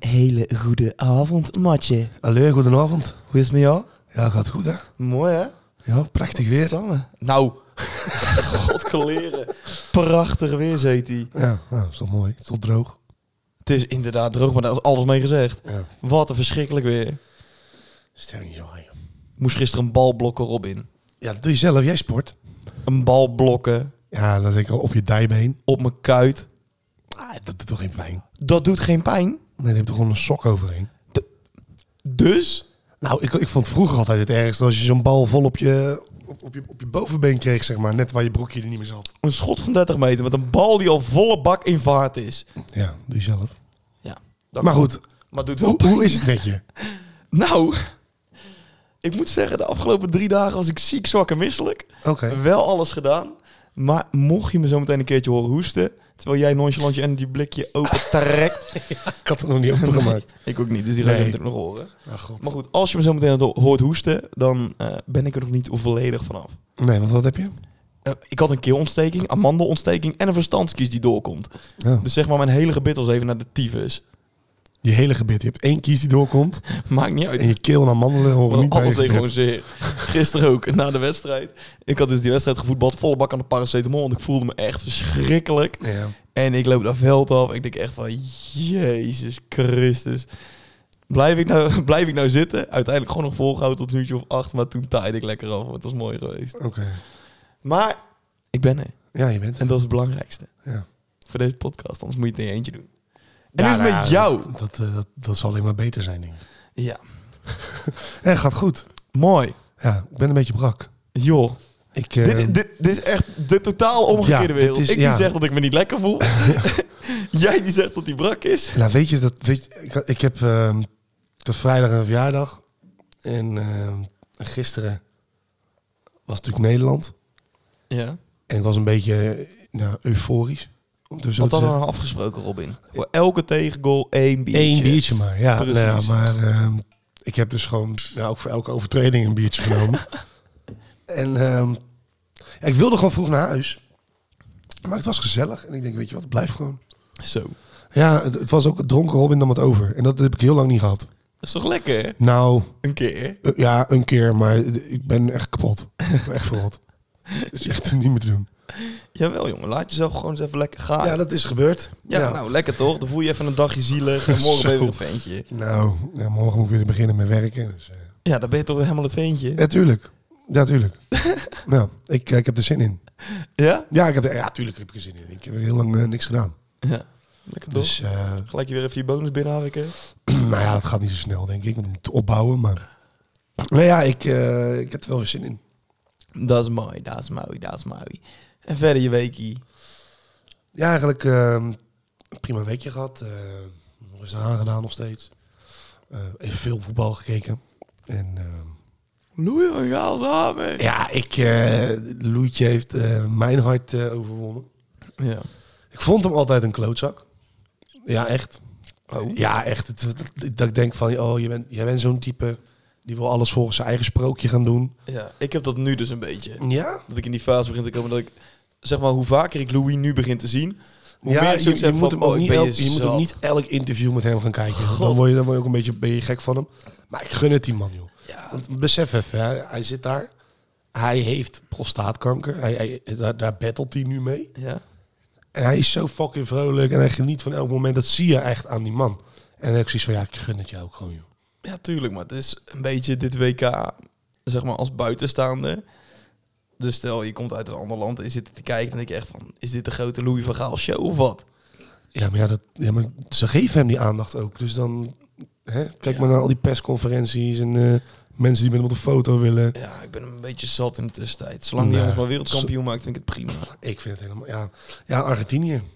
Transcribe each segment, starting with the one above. hele goede avond, Matje. Allee, goedenavond. Hoe is het met jou? Ja, gaat goed hè? Mooi, hè? Ja, prachtig weer. Samen. Nou. Godgeleren. Prachtig weer, zegt hij. Ja, nou, is toch mooi. Is toch droog. Het is inderdaad droog, maar daar is alles mee gezegd. Ja. Wat een verschrikkelijk weer. Stel je zo aan. Moest gisteren een bal blokken, Robin. Ja, dat doe je zelf. Jij sport. Een bal blokken Ja, dan zeker op je dijbeen. op mijn kuit. Ah, dat doet toch geen pijn? Dat doet geen pijn. Nee, dan heb je er gewoon een sok overheen. Dus? Nou, ik, ik vond vroeger altijd het ergste als je zo'n bal vol op je, op, op je, op je bovenbeen kreeg, zeg maar. Net waar je broekje er niet meer zat. Een schot van 30 meter met een bal die al volle bak in vaart is. Ja, doe je zelf. Ja. dat maar klopt. goed, Maar doet wel hoe, hoe is het met je? Nou, ik moet zeggen, de afgelopen drie dagen was ik ziek, zwak en misselijk. Oké. Wel alles gedaan. Maar mocht je me zo meteen een keertje horen hoesten, terwijl jij nonchalant je energieblikje open trekt. Ik had het nog niet opengemaakt. ik ook niet, dus die ga je zo Nee. meteen nog horen. Ah, god. Maar goed, als je me zo meteen ho- hoort hoesten, dan eh, ben ik er nog niet volledig vanaf. Nee, want wat heb je? Eh, ik had een keelontsteking, amandelontsteking en een verstandskies die doorkomt. Ja. Dus zeg maar, mijn hele gebit was even naar de tyfus. Je hele gebit. Je hebt één kies die doorkomt. Maakt niet uit. En je keel en amandelen horen Want niet bij je alles deed gewoon gebit. zeer. Gisteren ook, na de wedstrijd. Ik had dus die wedstrijd gevoetbald, volle bak aan de paracetamol. Want ik voelde me echt verschrikkelijk. Ja. En ik loop dat veld af en ik denk echt van... Jezus Christus. Blijf ik nou, blijf ik nou zitten? Uiteindelijk gewoon nog volgehouden tot een uurtje of acht. Maar toen taaide ik lekker af. want Het was mooi geweest. Oké. Maar ik ben er. Ja, je bent En dat is het belangrijkste. Ja. Voor deze podcast. Anders moet je het in je eentje doen. En nu is het met jou. Dat, dat, eh, dat, dat zal alleen maar beter zijn, denk ik. Ja. Ja, gaat goed. Mooi. Ja, ik ben een beetje brak. Joh. Ik, eh, Dit, dit, dit is echt de totaal omgekeerde Ja, dit wereld. is- ik ja. die zeg dat ik me niet lekker voel. Jij die zegt dat hij brak is. nou, weet je, dat, weet je, ik, ik heb ehm tot vrijdag een verjaardag. En ehm, gisteren was natuurlijk Nederland. Ja. En ik was een beetje eh, nou, euforisch. om Dus Want dat hadden we afgesproken, Robin. Voor elke tegengoal één biertje. Eén biertje maar, ja. Precies. Nou ja, maar ehm, ik heb dus gewoon ja, ook voor elke overtreding een biertje genomen. en ehm, ja, ik wilde gewoon vroeg naar huis. Maar het was gezellig. En ik denk, weet je wat, blijf gewoon. Zo. Ja, het, het was ook het dronken Robin nam het over. En dat heb ik heel lang niet gehad. Dat is toch lekker, hè? Nou, Een keer. eh, ja, een keer, maar ik ben echt kapot. Ik ben echt verrot. Het is echt niet meer te doen. Jawel, jongen. Laat jezelf gewoon eens even lekker gaan. Ja, Ah. Ja, dat is gebeurd. nou, lekker toch? Dan voel je even een dagje zielig. En morgen Zo. ben je weer het ventje. Nou, ja, morgen moet ik weer beginnen met werken. Dus, eh, Ja, dan ben je toch weer helemaal het ventje. Natuurlijk. Ja, tuurlijk. nou, ik, eh, ik heb er zin in. Ja? Ja, ik heb er, ja, tuurlijk heb ik er zin in. Ik heb er heel lang eh, niks gedaan. Ja. Lekker toch? Dus, eh Gelijk je weer even je bonus binnenharken. nou ja, het gaat niet zo snel, denk ik. Want ik moet opbouwen, maar... Nou ja, ik, eh, ik heb er wel weer zin in. Dat is mooi, dat is mooi, dat is mooi. En verder je weekie. Ja, eigenlijk eh, een prima weekje gehad. Eh, Nog eens aan gedaan nog steeds. Eh, even veel voetbal gekeken. En eh, Louis van Gaal samen. ja, ik, eh Loetje heeft eh, mijn hart eh, overwonnen. Ja. Ik vond hem altijd een klootzak. Ja, echt. Oh. Ja, echt. Het, het- het- dat ik denk van, oh, je bent, jij bent zo'n type die wil alles volgens zijn eigen sprookje gaan doen. Ja, ik heb dat nu dus een beetje. Ja? Dat ik in die fase begin te komen dat ik, zeg maar, hoe vaker ik Louis nu begin te zien, hoe ja, meer ik je, zoiets je heb moet van, hem oh, ook ik niet ben elk, je je moet hem zat. niet elk interview met hem gaan kijken. God. Dan word, je, dan word je ook een beetje, ben je gek van hem. Maar ik gun het die man, joh. Ja, Want besef even, hè, hij zit daar. Hij heeft prostaatkanker. Hij, hij, daar, daar battelt hij nu mee. ja. En hij is zo fucking vrolijk en hij geniet van elk moment. Dat zie je echt aan die man. En dan heb ik zoiets van, ja, ik gun het jou ook gewoon, joh. ja, tuurlijk, maar het is een beetje dit WK, zeg maar, als buitenstaander. Dus stel, je komt uit een ander land en je zit te kijken en denk je echt van, is dit de grote Louis van Gaal show of wat? Ja, maar, ja, dat, ja, maar ze geven hem die aandacht ook. Dus dan hè, kijk maar naar al die persconferenties en eh, mensen die met hem op de foto willen. Ja, ik ben hem een beetje zat in de tussentijd. Zolang die Nee. jongens maar wereldkampioen maakt, vind ik het prima. Ik vind het helemaal. Ja, ja Argentinië.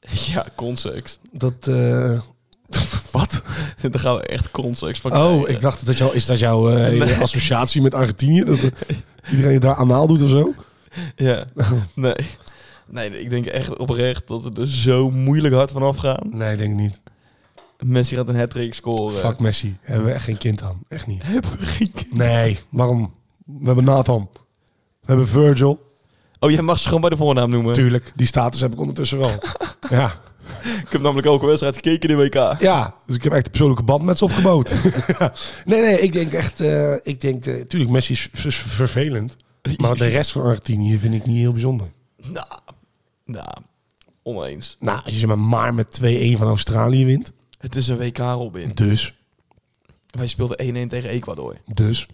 Ja, concex. Dat. eh, Wat? Daar gaan we echt concex van oh, krijgen. ik dacht dat jou, is dat jouw eh, hele Nee. associatie met Argentinië? Dat eh, iedereen daar anaal doet of zo? Ja, nee. nee. nee, Ik denk echt oprecht dat we er zo moeilijk hard vanaf gaan. Nee, denk ik niet. Messi gaat een hat-trick scoren. Fuck Messi. Hebben we echt geen kind aan. Echt niet. Hebben we geen kind? Nee, waarom? We hebben Nathan. We hebben Virgil. Oh, jij mag ze gewoon bij de voornaam noemen. Tuurlijk, die status heb ik ondertussen wel. ja. Ik heb namelijk elke wedstrijd gekeken in de WK. Ja, dus ik heb echt een persoonlijke band met ze opgebouwd. Ja. Nee, nee, ik denk echt... eh, ik denk, eh, tuurlijk, Messi is ver- ver- vervelend. Maar de rest van Argentinië vind ik niet heel bijzonder. Nou, nou, oneens. Nou, als je zeg maar, maar met 2-1 van Australië wint. Het is een WK, Robin. Dus, Wij speelden 1-1 tegen Ecuador. dus.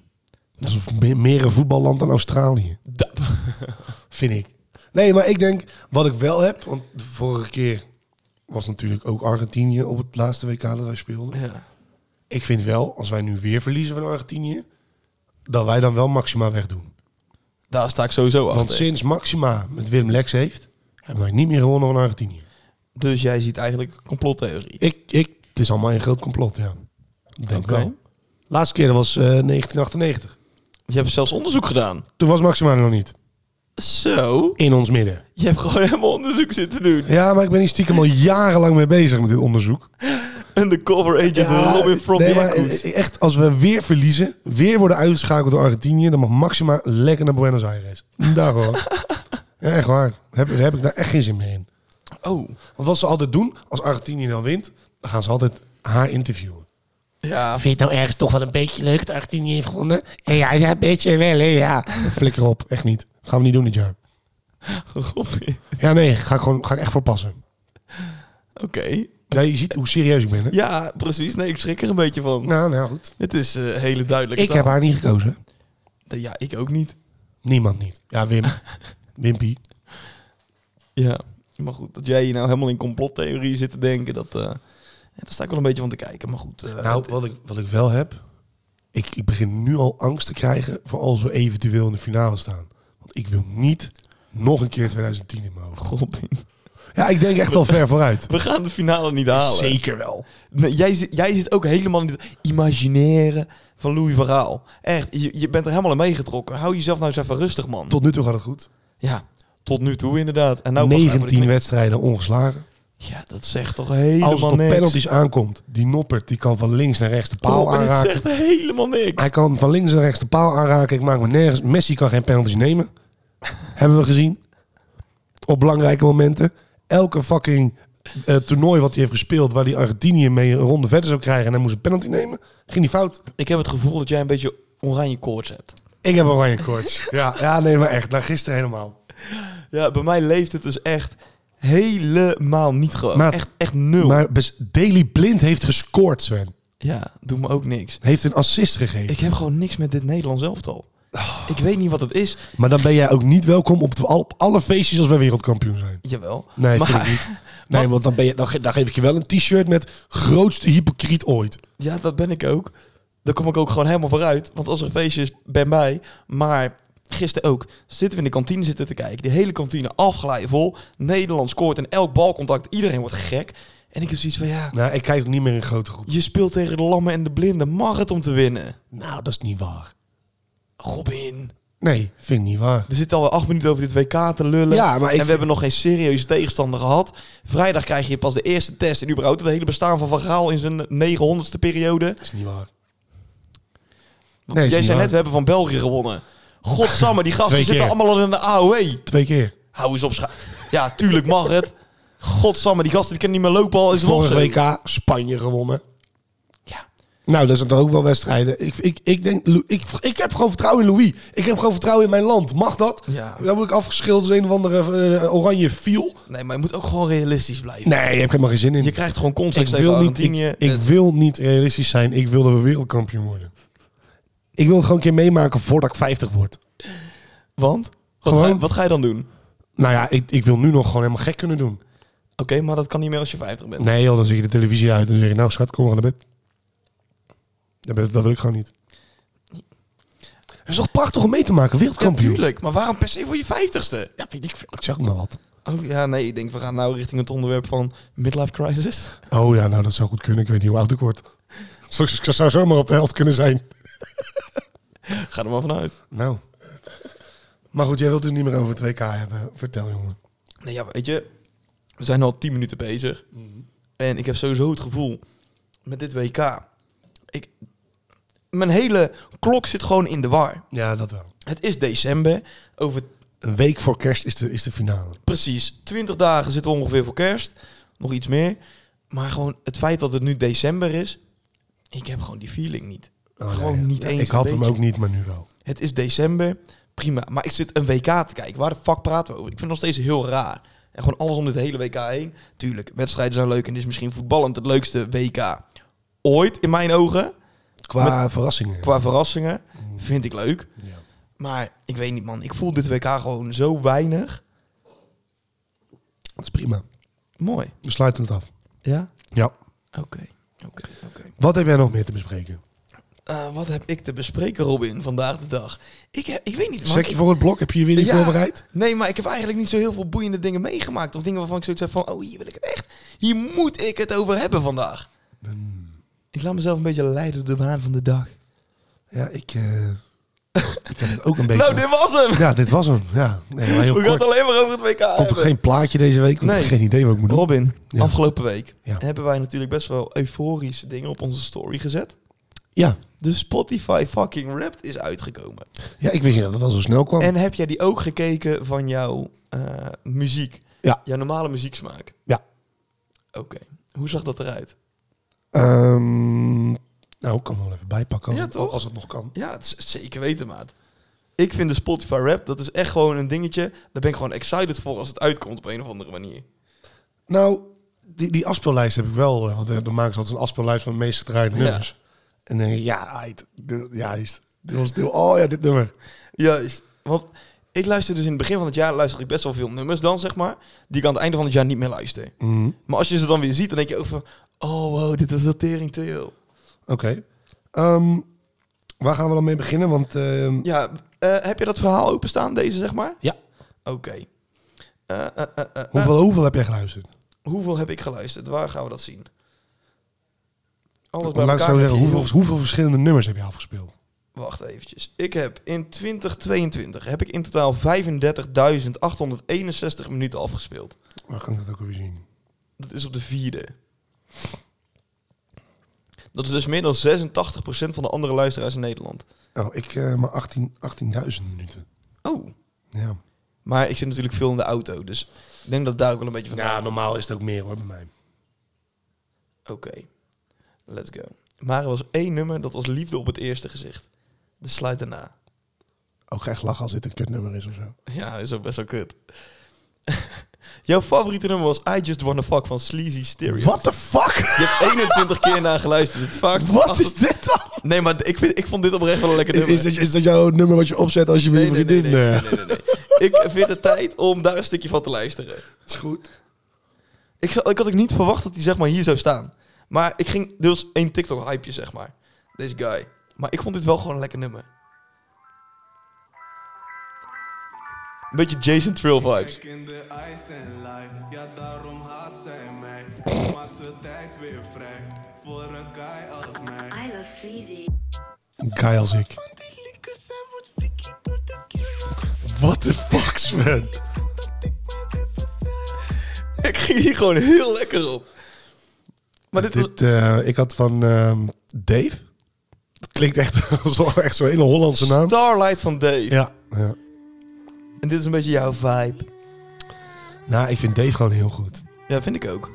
Dat is me- meer een voetballand dan Australië. Da- Vind ik. Nee, maar ik denk, wat ik wel heb... Want de vorige keer was natuurlijk ook Argentinië op het laatste WK dat wij speelden. Ja. Ik vind wel, als wij nu weer verliezen van Argentinië... dat wij dan wel Maxima wegdoen. Daar sta ik sowieso achter. Want sinds Maxima met Willem Lex heeft... hebben wij niet meer gewonnen van Argentinië. Dus jij ziet eigenlijk een complottheorie. Ik, ik, het is allemaal een groot complot, ja. Denk Oké. wel. Laatste keer dat was eh, 1998. Je hebt zelfs onderzoek gedaan. Toen was Maxima er nog niet. Zo, In ons midden. je hebt gewoon helemaal onderzoek zitten doen. Ja, maar ik ben hier stiekem al jarenlang mee bezig met dit onderzoek. Undercover agent Ja, eh, Robin from nee, the maar Yakuts. echt, als we weer verliezen, weer worden uitgeschakeld door Argentinië, dan mag Maxima lekker naar Buenos Aires. Daar hoor. ja, echt waar. Heb, daar heb ik daar echt geen zin meer in. Oh, Want wat ze altijd doen, als Argentinië dan wint, dan gaan ze altijd haar interviewen. ja. Vind je het nou ergens toch wel een beetje leuk dat Argentinië heeft gewonnen? Eh, Ja, ja, een beetje wel, hè, ja. Flikker op, echt niet. Gaan we niet doen dit jaar. Robin. Ja, nee, ga ik, gewoon, ga ik echt voor passen. Oké. Ja, je ziet hoe serieus ik ben, hè? Ja, precies. Nee, ik schrik er een beetje van. Nou, nou, goed. Het is eh hele duidelijk. Ik heb haar niet gekozen. Ja, ik ook niet. Niemand niet. Ja, Wim. Wimpy. Ja. Maar goed, dat jij hier nou helemaal in complottheorieën zit te denken, dat, eh, ja, daar sta ik wel een beetje van te kijken. Maar goed. eh, Nou, wat ik, wat ik wel heb... Ik, ik begin nu al angst te krijgen voor als we eventueel in de finale staan. Want ik wil niet nog een keer 2010 in mijn hoofd. Robin. Ja, ik denk echt al ver vooruit. We gaan de finale niet halen. Zeker wel. Nee, jij, zit- jij zit ook helemaal in het imagineren van Louis Verhaal. Echt, je, je bent er helemaal aan meegetrokken. Hou jezelf nou eens even rustig, man. Tot nu toe gaat het goed. ja, tot nu toe inderdaad. En nou pas even de 19 knik- wedstrijden ongeslagen. Ja, dat zegt toch helemaal Als het op niks. penalties aankomt, die Noppert die kan van links naar rechts de paal Robin, dit aanraken. zegt helemaal niks. Hij kan van links naar rechts de paal aanraken. Ik maak me nergens. Messi kan geen penalties nemen. Hebben we gezien. Op belangrijke momenten. Elke fucking eh, toernooi wat hij heeft gespeeld, waar die Argentinië mee een ronde verder zou krijgen en hij moest een penalty nemen, ging die fout. Ik heb het gevoel dat jij een beetje oranje koorts hebt. Ik heb oranje koorts. ja, ja, nee, maar echt. Na gisteren helemaal. Ja, bij mij leeft het dus echt helemaal niet gewoon. Maar- echt, echt nul. Maar bes- Daley Blind heeft gescoord, Sven. ja, doet me ook niks. Heeft een assist gegeven. Ik heb gewoon niks met dit Nederlands elftal. Oh. Ik weet niet wat het is. Maar dan ben jij ook niet welkom op, de- op alle feestjes als wij wereldkampioen zijn. Jawel. Nee, maar, vind ik niet. Nee, want dan, ben je, dan, ge- dan geef ik je wel een t-shirt met grootste hypocriet ooit. Ja, dat ben ik ook. Daar kom ik ook gewoon helemaal vooruit. Want als er een feestje is, ben bij. Maar gisteren ook. Zitten we in de kantine zitten te kijken. Die hele kantine afgeleid vol. Nederland scoort in elk balcontact. Iedereen wordt gek. En ik heb zoiets van, ja, Nou, ik kijk ook niet meer in grote groepen. je speelt tegen de lammen en de blinden. Mag het om te winnen? Nou, dat is niet waar. Robin, Nee, vind ik niet waar. we zitten alweer acht minuten over dit WK te lullen. Ja, maar ik en we vind- hebben nog geen serieuze tegenstander gehad. Vrijdag krijg je pas de eerste test. En überhaupt het hele bestaan van Van Gaal in zijn 900ste periode. Dat is niet waar. Want Nee, is Jij niet zei waar. net, we hebben van België gewonnen. Godsamme, die gasten Twee zitten keer. allemaal al in de AOE. Twee keer. Hou eens op. scha- Ja, tuurlijk mag het. Godsamme, die gasten die kunnen niet meer lopen al is het Vorig nog zo. WK Spanje gewonnen. Ja. Nou, dat zijn dan ook wel wedstrijden. Ik, ik, ik, denk, Lou- ik, ik heb gewoon vertrouwen in Louis. Ik heb gewoon vertrouwen in mijn land. Mag dat? Ja. Dan word ik afgeschilderd als een of andere eh, oranje viel. Nee, maar je moet ook gewoon realistisch blijven. Nee, ik heb maar geen zin in. Je krijgt gewoon Ik context tegen wil, niet, Argentinië. ik, ik wil niet realistisch zijn. Ik wil dat we wereldkampioen worden. Ik wil het gewoon een keer meemaken voordat ik 50 word. Want? Wat, Gewoon- Ga, je- wat ga je dan doen? Oké, Nou ja, ik, ik wil nu nog gewoon helemaal gek kunnen doen. maar dat kan niet meer als je 50 bent. Nee joh, dan zet je de televisie uit en dan zeg je... Nou schat, kom maar naar bed. Dat, ben- dat wil ik gewoon niet. Het is toch prachtig om mee te maken, wereldkampioen. Ja, Natuurlijk, maar waarom per se voor je 50ste? weet ik veel. Ik zeg maar wat. Oh ja, nee, ik denk we gaan nou richting het onderwerp van midlife crisis. Oh ja, nou dat zou goed kunnen. Ik weet niet hoe oud ik word. Zo- Ik zou zomaar op de helft kunnen zijn. Ga er maar vanuit. Nou. Maar goed, jij wilt het niet meer over 2K hebben. Vertel jongen. Nee, ja, weet je, we zijn al 10 minuten bezig. Mhm. En ik heb sowieso het gevoel met dit WK. Ik, mijn hele klok zit gewoon in de war. Ja, dat wel. Het is december. Over Een week voor kerst is de, is de finale. precies 20 dagen zitten we ongeveer voor kerst. nog iets meer. Maar gewoon het feit dat het nu december is, ik heb gewoon die feeling niet. Oh, Gewoon niet eens Ik een had hem beetje. ook niet, maar nu wel. Het is december, prima. Maar ik zit een WK te kijken. Waar de fuck praten we over? Ik vind het nog steeds heel raar. En gewoon alles om dit hele WK heen. Tuurlijk, wedstrijden zijn leuk en dit is misschien voetballend het leukste WK ooit in mijn ogen. Qua verrassingen. Qua verrassingen Mm, vind ik leuk. ja. Maar ik weet niet, man. Ik voel dit WK gewoon zo weinig. Dat is prima. Mooi. We sluiten het af. Ja? Ja. Oké. Oké, oké. Wat heb jij nog meer te bespreken? Eh, wat heb ik te bespreken, Robin, vandaag de dag? Ik, heb, ik weet niet, man. Zeg je voor het blok? Heb je je weer niet Ja. voorbereid? Nee, maar ik heb eigenlijk niet zo heel veel boeiende dingen meegemaakt. Of dingen waarvan ik zoiets heb van... Oh, hier wil ik het echt... Hier moet ik het over hebben vandaag. Ik laat mezelf een beetje leiden door de waan van de dag. Ja, ik, eh, ik heb het ook een beetje... Nou, dit was hem! Ja, dit was hem. Ja, nee, maar heel We gaan het kort. alleen maar over het WK Komt er hebben. geen plaatje deze week? Want Nee. Ik heb geen idee wat ik moet doen. Robin, Ja. afgelopen week Ja. hebben wij natuurlijk best wel euforische dingen op onze story gezet. Ja. De Spotify fucking Wrapped is uitgekomen. ja, ik wist niet dat het al zo snel kwam. En heb jij die ook gekeken van jouw eh, muziek? Ja. Jouw normale muzieksmaak? Ja. Oké. Hoe zag dat eruit? Ehm, nou, ik kan hem wel even bijpakken als, Ja, het, toch? als het nog kan. Ja, het is zeker weten, maat. Ik vind de Spotify rap, dat is echt gewoon een dingetje. Daar ben ik gewoon excited voor als het uitkomt op een of andere manier. Nou, die, die afspeellijst heb ik wel. eh, Want eh, dan maken ze altijd een afspeellijst van de meest gedraaide Ja. nummers. En dan denk ik, ja, ait, dit- juist. Dit was deel. Oh ja, dit nummer. Juist. Want ik luister dus in het begin van het jaar luister ik best wel veel nummers dan, zeg maar. Die ik aan het einde van het jaar niet meer luister. Mhm, Maar als je ze dan weer ziet, dan denk je ook van... Oh, wow, dit is datering te heel. Oké. Ehm, waar gaan we dan mee beginnen? Want ehm, Ja, eh, heb je dat verhaal openstaan, deze, zeg maar? Ja. Oké. Eh, eh, eh, eh, eh. hoeveel, hoeveel heb jij geluisterd? Hoeveel heb ik geluisterd? Waar gaan we dat zien? Alles Laat bij ik elkaar. het zo heb zeggen, je hoeveel, heel- hoeveel verschillende nummers heb je afgespeeld? Wacht eventjes. Ik heb in 2022 heb ik in totaal 35.861 minuten afgespeeld. Waar kan ik dat ook weer zien? Dat is op de vierde. Dat is dus meer dan 86% van de andere luisteraars in Nederland. Nou, ik eh, maar 18 18.000 minuten. Oh. Ja. Maar ik zit natuurlijk veel in de auto, dus ik denk dat daar ook wel een beetje van... normaal is het ook meer hoor bij mij. Oké, let's go. Maar er was één nummer, dat was Liefde op het eerste gezicht. De sluit daarna. Ook echt lachen als dit een kutnummer is of zo. Ja, is ook best wel kut. Jouw favoriete nummer was I Just Wanna Fuck van Sleazy Stereo. What the fuck? Je hebt 21 keer naar geluisterd. Het vaak Wat is dit dan? Nee, maar ik, vind, ik vond dit oprecht wel een lekker Is, nummer. is, dat, is dat jouw nummer wat je opzet als je nee, met je nee, nee, vriendin... eh, nee, nee, nee, nee, nee. Ik vind het tijd om daar een stukje van te luisteren. Is goed. Ik, zal- ik had ook niet verwacht dat hij zeg maar hier zou staan. Maar ik ging... Dit was één TikTok-hypeje, zeg maar. Deze guy. Maar ik vond dit wel gewoon een lekker nummer. Een beetje Jason Trill vibes. Kijk in de eyes en lie, ja daarom haat zij mij. Dan Maakt ze tijd weer vrij voor een guy als mij. I love sleazy. Guy als ik. Van die likkers, zij wordt freaky door de killer. What the fuck, Sven? Niks omdat ik mij weer verveel. Ik ging hier gewoon heel lekker op. Maar dit, was- Dit, eh, ik had van ehm, Dave. Dat klinkt echt, als wel echt zo'n hele Hollandse naam. Starlight van Dave. Ja, ja. En dit is een beetje jouw vibe. Nou, ik vind Dave gewoon heel goed. Ja, vind ik ook.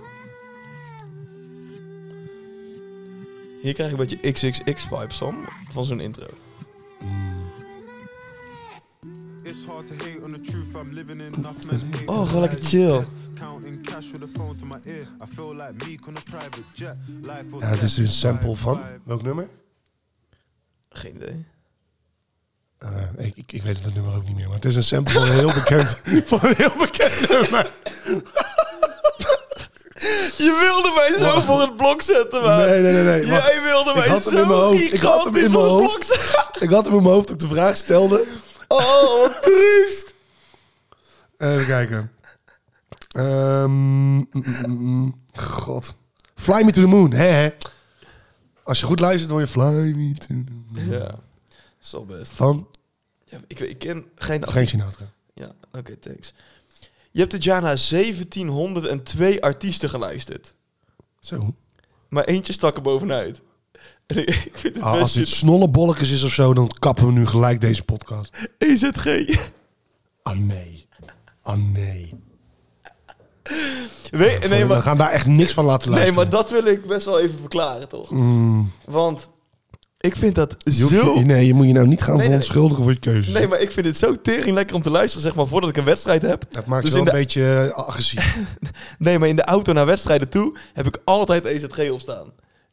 Hier krijg ik een beetje XXX-vibes van, van zo'n intro. It's hard to hate on the truth, I'm living enough men hate. Oh, gewoon lekker chill. Counting cash with a phone to my ear. I feel like Meek on a private jet. Life was Ja, dit is een sample van. vibe. Welk nummer? Geen idee. Eh, ik, ik, ik weet het nummer ook niet meer, maar het is een sample van een heel bekend, van een heel bekend nummer. Je wilde mij zo voor het blok zetten, man. Nee, nee, nee. nee. wacht. Jij wilde mij Ik had zo hem in mijn hoofd. Ik had hem gigantisch in mijn voor het hoofd. blok zetten. Ik had hem in mijn hoofd toen ik de vraag stelde. Oh, wat triest. Even kijken. Ehm, mm, mm, mm. God. Fly me to the moon. Hè, hè. Als je goed luistert, hoor je Fly me to the moon. Ja, zo best. Van Ja, ik, ik ken geen... Frank Sinatra. Ja, oké, thanks. Je hebt dit jaar naar 1702 artiesten geluisterd. Zo. Maar eentje stak er bovenuit. En ik, ik vind het Ah, als best dit dit... snollebolletjes is of zo, dan kappen we nu gelijk deze podcast. E EZG. Ah, nee. Ah, nee. Weet- Eh, nee, we maar, gaan daar echt niks van laten nee, luisteren. maar dat wil ik best wel even verklaren, toch? Want ik vind dat Mm. Je hoeft zo... je- nee, je moet je nou niet gaan Nee, nee. verontschuldigen voor je keuzes. Nee, maar ik vind het zo tering lekker om te luisteren, zeg maar, voordat ik een wedstrijd heb. dat maakt dus je in wel de- een beetje eh, agressief. Nee, maar in de auto naar wedstrijden toe heb ik altijd E EZG op staan.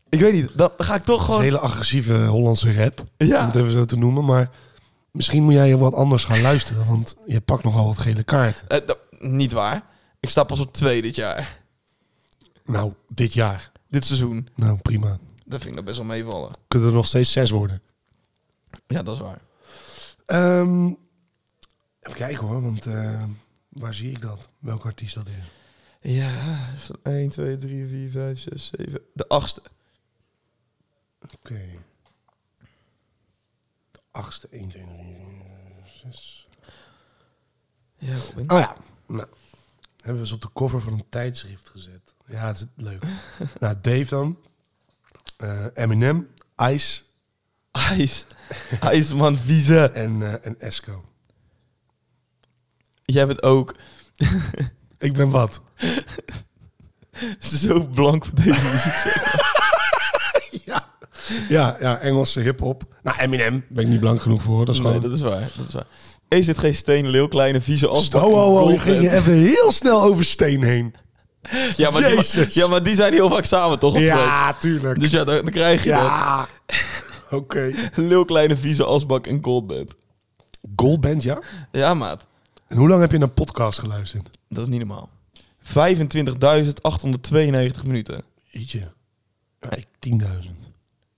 Ik weet niet, dan ga ik toch Dat is gewoon... een hele agressieve Hollandse rap, om Ja, het even zo te noemen. Maar misschien moet jij je wat anders gaan luisteren, want je pakt nogal wat gele kaart. eh, dat- niet waar. Ik sta pas op twee dit jaar. Nou, dit jaar. Dit seizoen. Nou, prima. Dat vind ik nog best wel meevallen. Kunnen er nog steeds zes worden. Ja, dat is waar. Ehm, even kijken hoor, want eh, waar zie ik dat? Welke artiest dat is? Ja, 1, 2, 3, 4, 5, 6, 7. De achtste. Oké. De achtste, 1, 2, 3, 6. Ja, Robin. Oh ja, nou. Hebben we ze op de cover van een tijdschrift gezet. Ja, het is leuk. nou, Dave dan. Eh, Eminem, Ice IJs. IJsman Vieze. en, eh, en Esco. Jij bent ook Ik ben wat? zo blank voor deze muziek. ja. Ja, ja, Engelse hip-hop. Nou, Eminem ben ik niet blank genoeg voor. Dat is Nee, gewoon. dat is waar. Dat is waar. EZG Steen, Leeuw Kleine, Vieze Sto- Asbak. oh, oh, oh, je Goldend. ging je even heel snel over steen heen. ja, maar die, Jezus. ja, maar die zijn heel vaak samen toch? Op tracks? Ja, tuurlijk. Dus ja, dan, dan krijg je ja. Oké. dat. Leeuw Kleine, Vieze Asbak en Goldband. Goldband, ja. Ja, maat. En hoe lang heb je naar podcast geluisterd? Dat is niet normaal. 25.892 minuten. Ietsje. ik 10.000.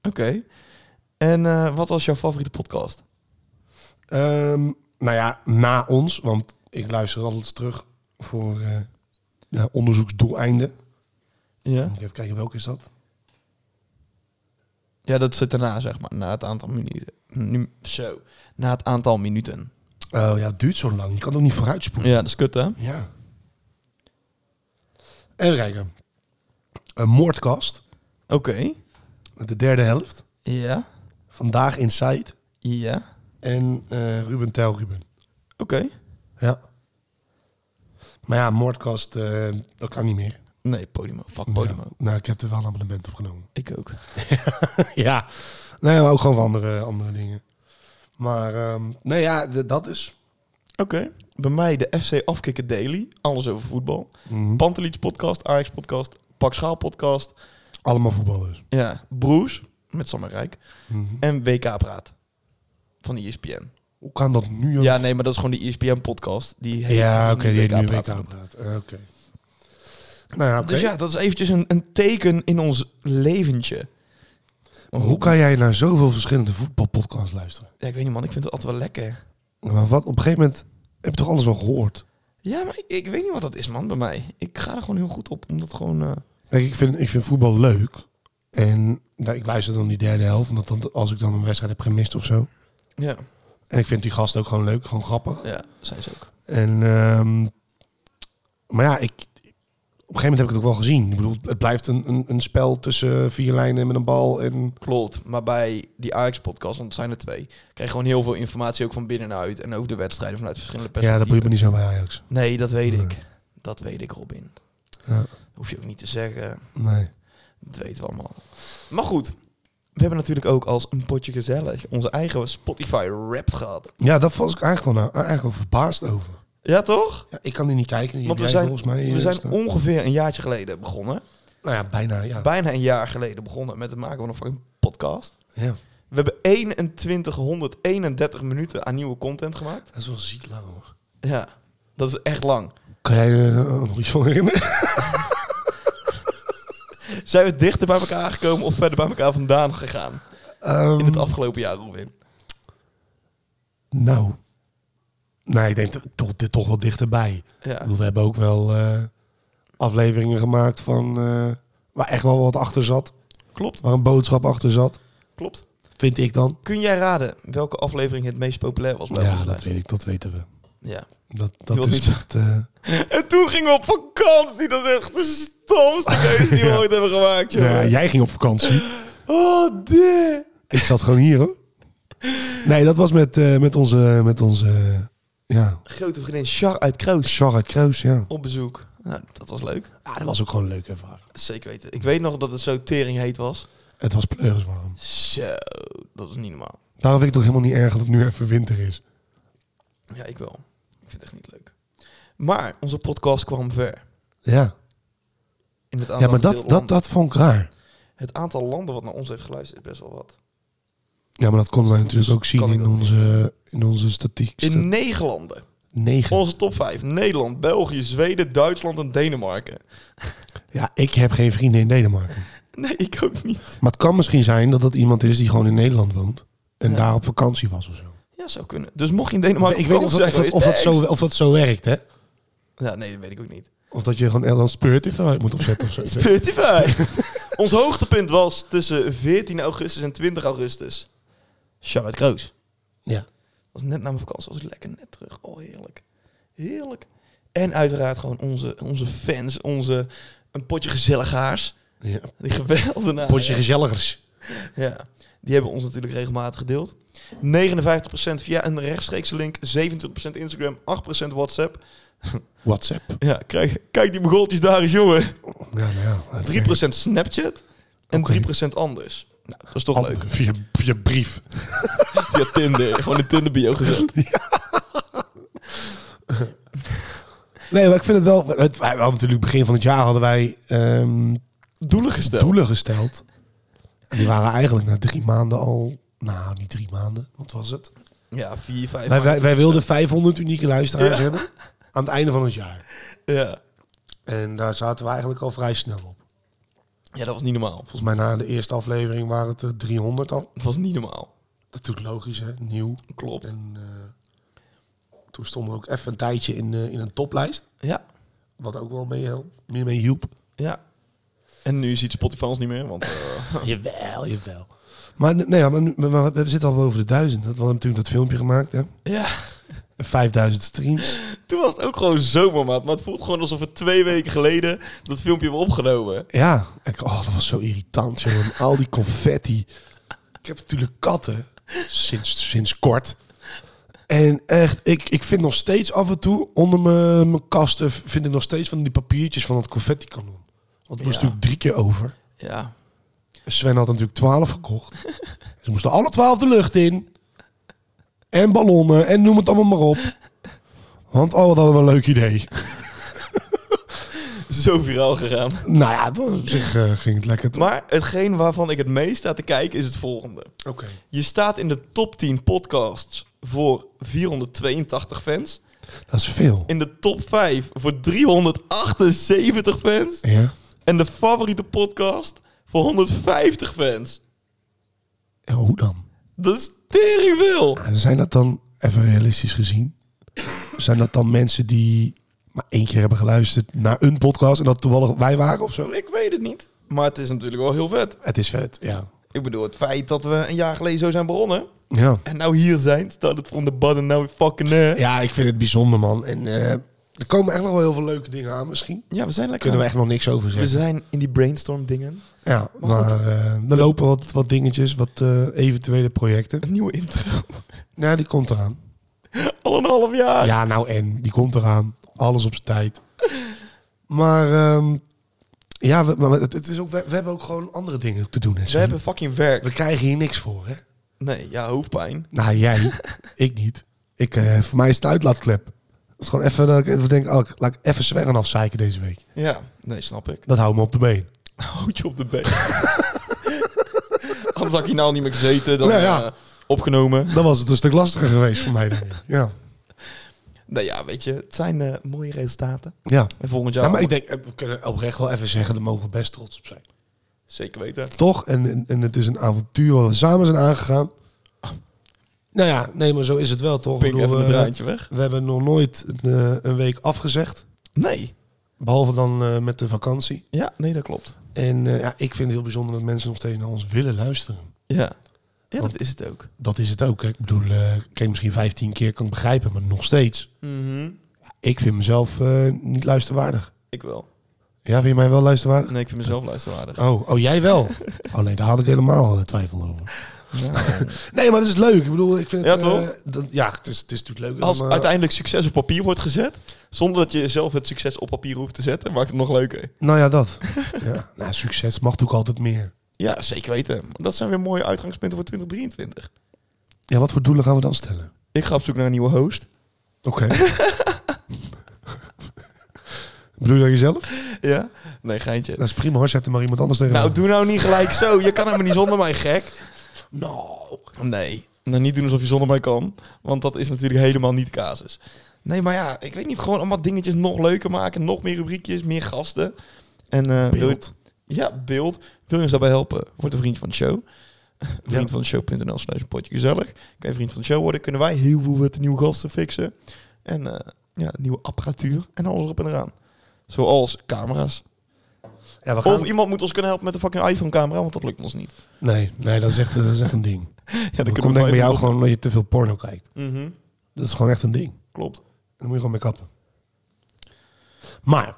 Oké. En eh, wat was jouw favoriete podcast? Ehm, nou ja, na ons, want ik luister altijd terug voor eh, ja, onderzoeksdoeleinden. Ja. Moet ik Even kijken, welke is dat? Ja, dat zit daarna, zeg maar. Na het aantal minuten. Nu, zo. Na het aantal minuten. Oh ja, het duurt zo lang. Je kan ook niet vooruitspoelen. Ja, dat is kut, hè? Ja. Even kijken. Een moordkast, Oké. de derde helft. Ja. Vandaag Inside. Ja. En eh, Ruben Tel Ruben. Oké. Ja. Maar ja, moordkast, eh, dat kan niet meer. Nee, Podimo. Fuck Podimo. Ja. Nou, ik heb er wel een abonnement op genomen. Ik ook. ja. Nee, maar ook gewoon van andere, andere dingen. Maar ehm nee, ja, d- dat is. Oké. Bij mij de FC Afkikken Daily. Alles over voetbal. Pantelits podcast, Ajax podcast, Pak Schaal podcast. Allemaal voetballers. Ja. Broes met Sam en Rijk. En WK Praat. Van de E ESPN. Hoe kan dat nu? ook? Ja, nee, maar dat is gewoon E die ESPN podcast. Die heet- ja oké, die die heeft nu WK WK Praat. praat. Eh, Oké. Nou ja, oké. Dus ja, dat is eventjes een, een teken in ons leventje. Maar Hoe kan jij naar zoveel verschillende voetbalpodcasts luisteren? Ja, ik weet niet man, ik vind het altijd wel lekker. Maar wat, op een gegeven moment heb je toch alles wel gehoord? Ja, maar ik, ik weet niet wat dat is man bij mij. Ik ga er gewoon heel goed op, omdat gewoon... eh, Kijk, ik vind, ik vind voetbal leuk. En nou, ik luister dan die derde helft. Omdat dan, als ik dan een wedstrijd heb gemist of zo. ja, En ik vind die gasten ook gewoon leuk. Gewoon grappig. ja, zijn ze ook. En, ehm, maar ja, ik, op een gegeven moment heb ik het ook wel gezien. Ik bedoel, het blijft een, een, een spel tussen vier lijnen met een bal. En Klopt, maar bij die Ajax-podcast, want het zijn er twee, krijg je gewoon heel veel informatie ook van binnenuit en ook de wedstrijden vanuit verschillende ja, dat perspectieven. boeit me niet zo bij Ajax. Nee, dat weet Nee. ik. Dat weet ik, Robin. Ja. Dat hoef je ook niet te zeggen. Nee. Dat weten we allemaal. Maar goed, we hebben natuurlijk ook als een potje gezellig onze eigen Spotify-rap gehad. Ja, daar was ik eigenlijk wel, nou, eigenlijk wel verbaasd over. Ja, toch? Ja, ik kan die niet kijken. Die Want we jij zijn, volgens mij, eh, we zijn staan. ongeveer een jaartje geleden begonnen. nou ja, bijna. Ja. Bijna een jaar geleden begonnen met het maken van een fucking podcast. ja. We hebben 2131 minuten aan nieuwe content gemaakt. Dat is wel ziek lang hoor. Ja, dat is echt lang. Kan jij er nog iets van herinneren? Zijn we dichter bij elkaar gekomen of verder bij elkaar vandaan gegaan Ehm, in het afgelopen jaar, Robin? Nou. Nee, ik denk toch- toch, dit toch wel dichterbij. Ik Ja, bedoel, We hebben ook wel eh, afleveringen gemaakt van. eh, waar echt wel wat achter zat. klopt, Waar een boodschap achter zat. klopt. Vind ik dan. Nou, Kun jij raden welke aflevering het meest populair was bij Ja, onze dat lijst? weet ik, dat weten we. Ja. Dat, Die dat was is niet zo- het. eh, En toen gingen we op vakantie. Dat is echt de stomste keuze die we Ja. ooit hebben gemaakt, nou ja, joh. jij ging op vakantie. Oh, dit. ik zat gewoon hier hoor. Nee, dat was met, eh, met onze. Met onze eh, ja, Grote vriendin Char uit Kroos. Char uit Kruis, ja. op bezoek. Nou, dat was leuk. Ah, dat was ook gewoon een leuke ervaring. Zeker weten. Ik weet nog dat het zo tering heet was. Het was pleuriswarm. Zo, dat is niet normaal. Daarom vind ik het ook helemaal niet erg dat het nu even winter is. Ja, ik wel. Ik vind het echt niet leuk. Maar onze podcast kwam ver. Ja, In het aantal ja maar dat, gedeelde dat, landen. dat vond ik raar. Het aantal landen wat naar ons heeft geluisterd is best wel wat. Ja, maar dat konden wij natuurlijk ook zien Dus Kan ik in ook niet. onze, in onze statistiek. In negen landen. Negen. Onze top 5. Nederland, België, Zweden, Duitsland en Denemarken. Ja, ik heb geen vrienden in Denemarken. Nee, ik ook niet. Maar het kan misschien zijn dat dat iemand is die gewoon in Nederland woont. En Ja. daar op vakantie was of zo. Ja, zou kunnen. Dus mocht je in Denemarken ik weet niet of, dat- vakantie of, dat- zijn of dat geweest, zo, of dat zo werkt, hè? thanks. Ja, nee, dat weet ik ook niet. Of dat je gewoon Nederlands Speurtiff uit moet opzetten of zo. Spotify. Ons hoogtepunt was tussen 14 augustus en 20 augustus. Charlotte Kroos. Ja. was net na mijn vakantie, was ik lekker net terug. Oh, heerlijk. Heerlijk. En uiteraard gewoon onze, onze fans, onze een potje gezelligaars. ja. Die geweldenaren. Potje gezelligers. Ja, die hebben ons natuurlijk regelmatig gedeeld. 59% via een rechtstreekse link, 27% Instagram, 8% WhatsApp. WhatsApp. Ja, kijk, kijk die begoltjes daar eens, jongen. Ja, nou ja. het 3% Snapchat en Oké. 3% anders. Nou, dat is toch werkt. leuk. Via, via brief. Via Tinder, gewoon een Tinder bio gezet. Nee, maar ik vind het wel... Het, wij hadden natuurlijk begin van het jaar hadden wij ehm, Doelen gesteld. doelen gesteld. En die waren eigenlijk na drie maanden al... Nou, niet drie maanden. Wat was het? Ja, 4, 5. Wij, wij, wij wilden 500 unieke luisteraars Ja. hebben. Aan het einde van het jaar. Ja. En daar zaten we eigenlijk al vrij snel op. ja, dat was niet normaal. Volgens mij na de eerste aflevering waren het er 300 al. Dat was niet normaal. Dat is natuurlijk logisch, hè? Nieuw. Klopt. En eh, toen stonden we ook even een tijdje in, eh, in een toplijst. Ja, Wat ook wel mee, help- meer mee hielp. ja. En nu ziet Spotify ons niet meer, want... eh, Jawel, jawel. Maar n- nee, maar, nu- maar we- we zitten al boven de duizend. Dat- We hadden natuurlijk dat filmpje gemaakt, hè? ja, En 5000 streams. toen was het ook gewoon zomermaat. Maar het voelt gewoon alsof we twee weken geleden dat filmpje hebben opgenomen. Ja, ik, oh, dat was zo irritant, jongen. Al die confetti. Ik heb natuurlijk katten. Sinds, sinds kort. En echt, ik, ik vind nog steeds af en toe onder mijn mijn kasten... vind ik nog steeds van die papiertjes van dat confetti kanon. Want het moest Ja. natuurlijk drie keer over. Ja. Sven had natuurlijk twaalf gekocht. Ze moesten alle twaalf de lucht in. En ballonnen en noem het allemaal maar op. Want oh, wat hadden we een leuk idee. Zo viraal gegaan. Nou ja, het was op zich eh, ging het lekker. toch? Maar hetgeen waarvan ik het meest sta te kijken is het volgende. Oké. Je staat in de top 10 podcasts voor 482 fans. Dat is veel. In de top 5 voor 378 fans. Ja. En de favoriete podcast voor 150 fans. Ja, hoe dan? Dat is tering veel. Ja, Zijn dat dan, even realistisch gezien, zijn dat dan mensen die maar één keer hebben geluisterd naar een podcast en dat toevallig wij waren of zo? Ik weet het niet. Maar het is natuurlijk wel heel vet. Het is vet, ja. Ik bedoel, het feit dat we een jaar geleden zo zijn begonnen. Ja, En nou hier zijn, staat het van de bad en nou weer fucking... eh. ja ik vind het bijzonder, man. En eh, er komen echt nog wel heel veel leuke dingen aan misschien. Ja, Dus, we zijn lekker. Kunnen we echt nog niks over we zeggen. zijn in die brainstorm dingen. Ja, maar eh, er lopen wat, wat dingetjes, wat eh, eventuele projecten. Een nieuwe intro. Nou, die komt eraan. Al een half jaar. Ja, nou en, die komt eraan. Alles op zijn tijd. Maar ehm, ja, we, maar het, het is ook, we, we hebben ook gewoon andere dingen te doen. Hè, Ze Sven. hebben fucking werk. We krijgen hier niks voor, hè? Nee, ja, hoofdpijn. Nou, jij. ik niet. Ik, eh, voor mij is het uitlaatklep. Het is gewoon even dat ik even denk, oh, ik- laat ik even zwerren afzeiken deze week. Ja, nee, snap ik. Dat houdt me op de been. Nou, Houd je op de been. Anders had ik hier nou niet meer gezeten. Dan, Nou ja. eh, opgenomen. Dan was het een stuk lastiger geweest voor mij. denk ik. Ja. Nou ja, weet je, het zijn eh, mooie resultaten. Ja. En volgend jaar... ja, maar ik denk, eh, we kunnen oprecht wel even zeggen, daar mogen we best trots op zijn. Zeker weten. Toch? En, en, en het is een avontuur waar we samen zijn aangegaan. Nou ja, nee, maar zo is het wel, toch? Ik Pink bedoel, eh, even het we- draadje weg. we hebben nog nooit een, eh, een week afgezegd. Nee. Behalve dan eh, met de vakantie. Ja, nee, dat klopt. En eh, ja, ik vind het heel bijzonder dat mensen nog steeds naar ons willen luisteren. Ja. Ja, Want- dat is het ook. Dat is het ook. Hè? Ik bedoel, eh, ik kreeg misschien 15 keer, kan ik begrijpen, maar nog steeds. Ik vind mezelf eh, niet luisterwaardig. Ik wel. Ja, vind je mij wel luisterwaardig? Nee, ik vind mezelf luisterwaardig. Oh, oh jij wel? Oh nee, daar had ik helemaal eh, twijfel over. Nee, maar dat is leuk. Ik bedoel, ik vind het... Ja, toch? eh, dat- ja, het is, het is natuurlijk leuk. Als om, eh, uiteindelijk succes op papier wordt gezet, zonder dat je zelf het succes op papier hoeft te zetten, maakt het nog leuker. Nou ja, dat. ja. Nou, succes mag natuurlijk altijd meer. Ja, zeker weten. Dat zijn weer mooie uitgangspunten voor 2023. Ja, wat voor doelen gaan we dan stellen? Ik ga op zoek naar een nieuwe host. Oké. Bedoel je dat jezelf? Ja? Nee, geintje. Dat is prima hoor, zet er maar iemand anders tegen. Nou, doe nou niet gelijk zo. Je kan helemaal niet zonder mij, gek. Nou. Nee. Nou, niet doen alsof je zonder mij kan. Want dat is natuurlijk helemaal niet de casus. Nee, maar ja, ik weet niet. Gewoon allemaal dingetjes nog leuker maken. Nog meer rubriekjes, meer gasten. En, eh, wil je- Beeld. ja, beeld. Wil je ons daarbij helpen? Word een vriend van de show. Vriend van de show.nl slash een potje gezellig. Kan je vriend van de show worden. Kunnen wij heel veel met de nieuwe gasten fixen. En eh, ja, nieuwe apparatuur. En alles erop en eraan. Zoals camera's. Ja, we gaan... Of iemand moet ons kunnen helpen met de fucking iPhone-camera, want dat lukt ons niet. Nee, nee dat, is echt, dat is echt een ding. Ja, dan dat kunnen komt denk ik bij vijf jou minuten- gewoon omdat je te veel porno kijkt. Mhm, Dat is gewoon echt een ding. En Klopt. dan moet je gewoon mee kappen. Maar,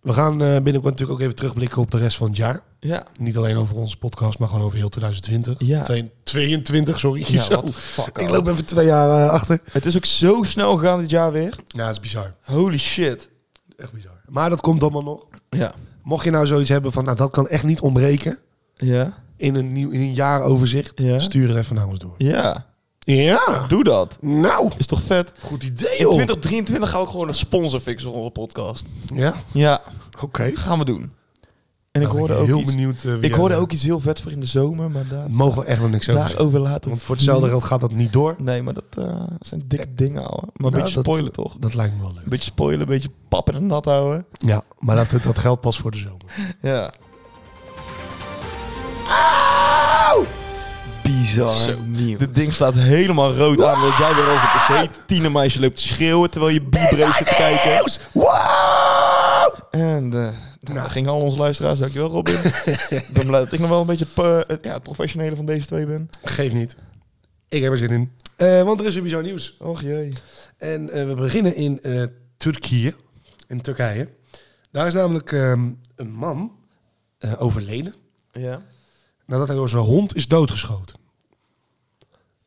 we gaan eh, binnenkort natuurlijk ook even terugblikken op de rest van het jaar. Ja. Niet alleen over onze podcast, maar gewoon over heel 2020. Ja. Twee- 22, sorry. Ja, Zo. what the fuck, ik man. loop even twee jaar eh, achter. Het is ook zo snel gegaan dit jaar weer. Ja, dat is bizar. Holy shit. Echt bizar. Maar dat komt allemaal nog. Ja. Mocht je nou zoiets hebben van, nou, dat kan echt niet ontbreken Ja. in een, nieuw, in een jaaroverzicht, Ja. stuur het even naar ons door. Ja. Ja, Doe dat. nou, Is toch vet? goed idee In joh. 2023 gaan we ook gewoon een sponsor fixen voor onze podcast. Ja, Ja. oké. Gaan we doen. En ik Nou, hoorde ben ook heel iets... benieuwd. eh, wie Ik jij hoorde bent. ook iets heel vets voor in de zomer, maar daar, Mogen we echt nog niks over zeggen. daarover later. Want voor hetzelfde veel- geld gaat dat niet door. Nee, maar dat eh, zijn dikke dingen, ouwe. Maar een Nou, beetje dat- spoilen toch? Dat lijkt me wel leuk. Een beetje spoilen, een beetje pap in de nat houden. Ja, maar dat, dat geldt pas voor de zomer. Ja. Bizar nieuw. Dit ding staat helemaal rood aan. Dat jij weer als een pc tienermeisje loopt te schreeuwen terwijl je bibreus zit te kijken. En eh nou, dat ging al onze luisteraars. Dankjewel Robin. ik ben blij dat ik nog wel een beetje eh, het, ja, het professionele van deze twee ben. Geef niet. Ik heb er zin in. Eh, want er is weer bizar nieuws. Och jee. En eh, we beginnen in eh, Turkije. In Turkije. Daar is namelijk ehm, een man eh, overleden. Ja. Nadat hij door zijn hond is doodgeschoten.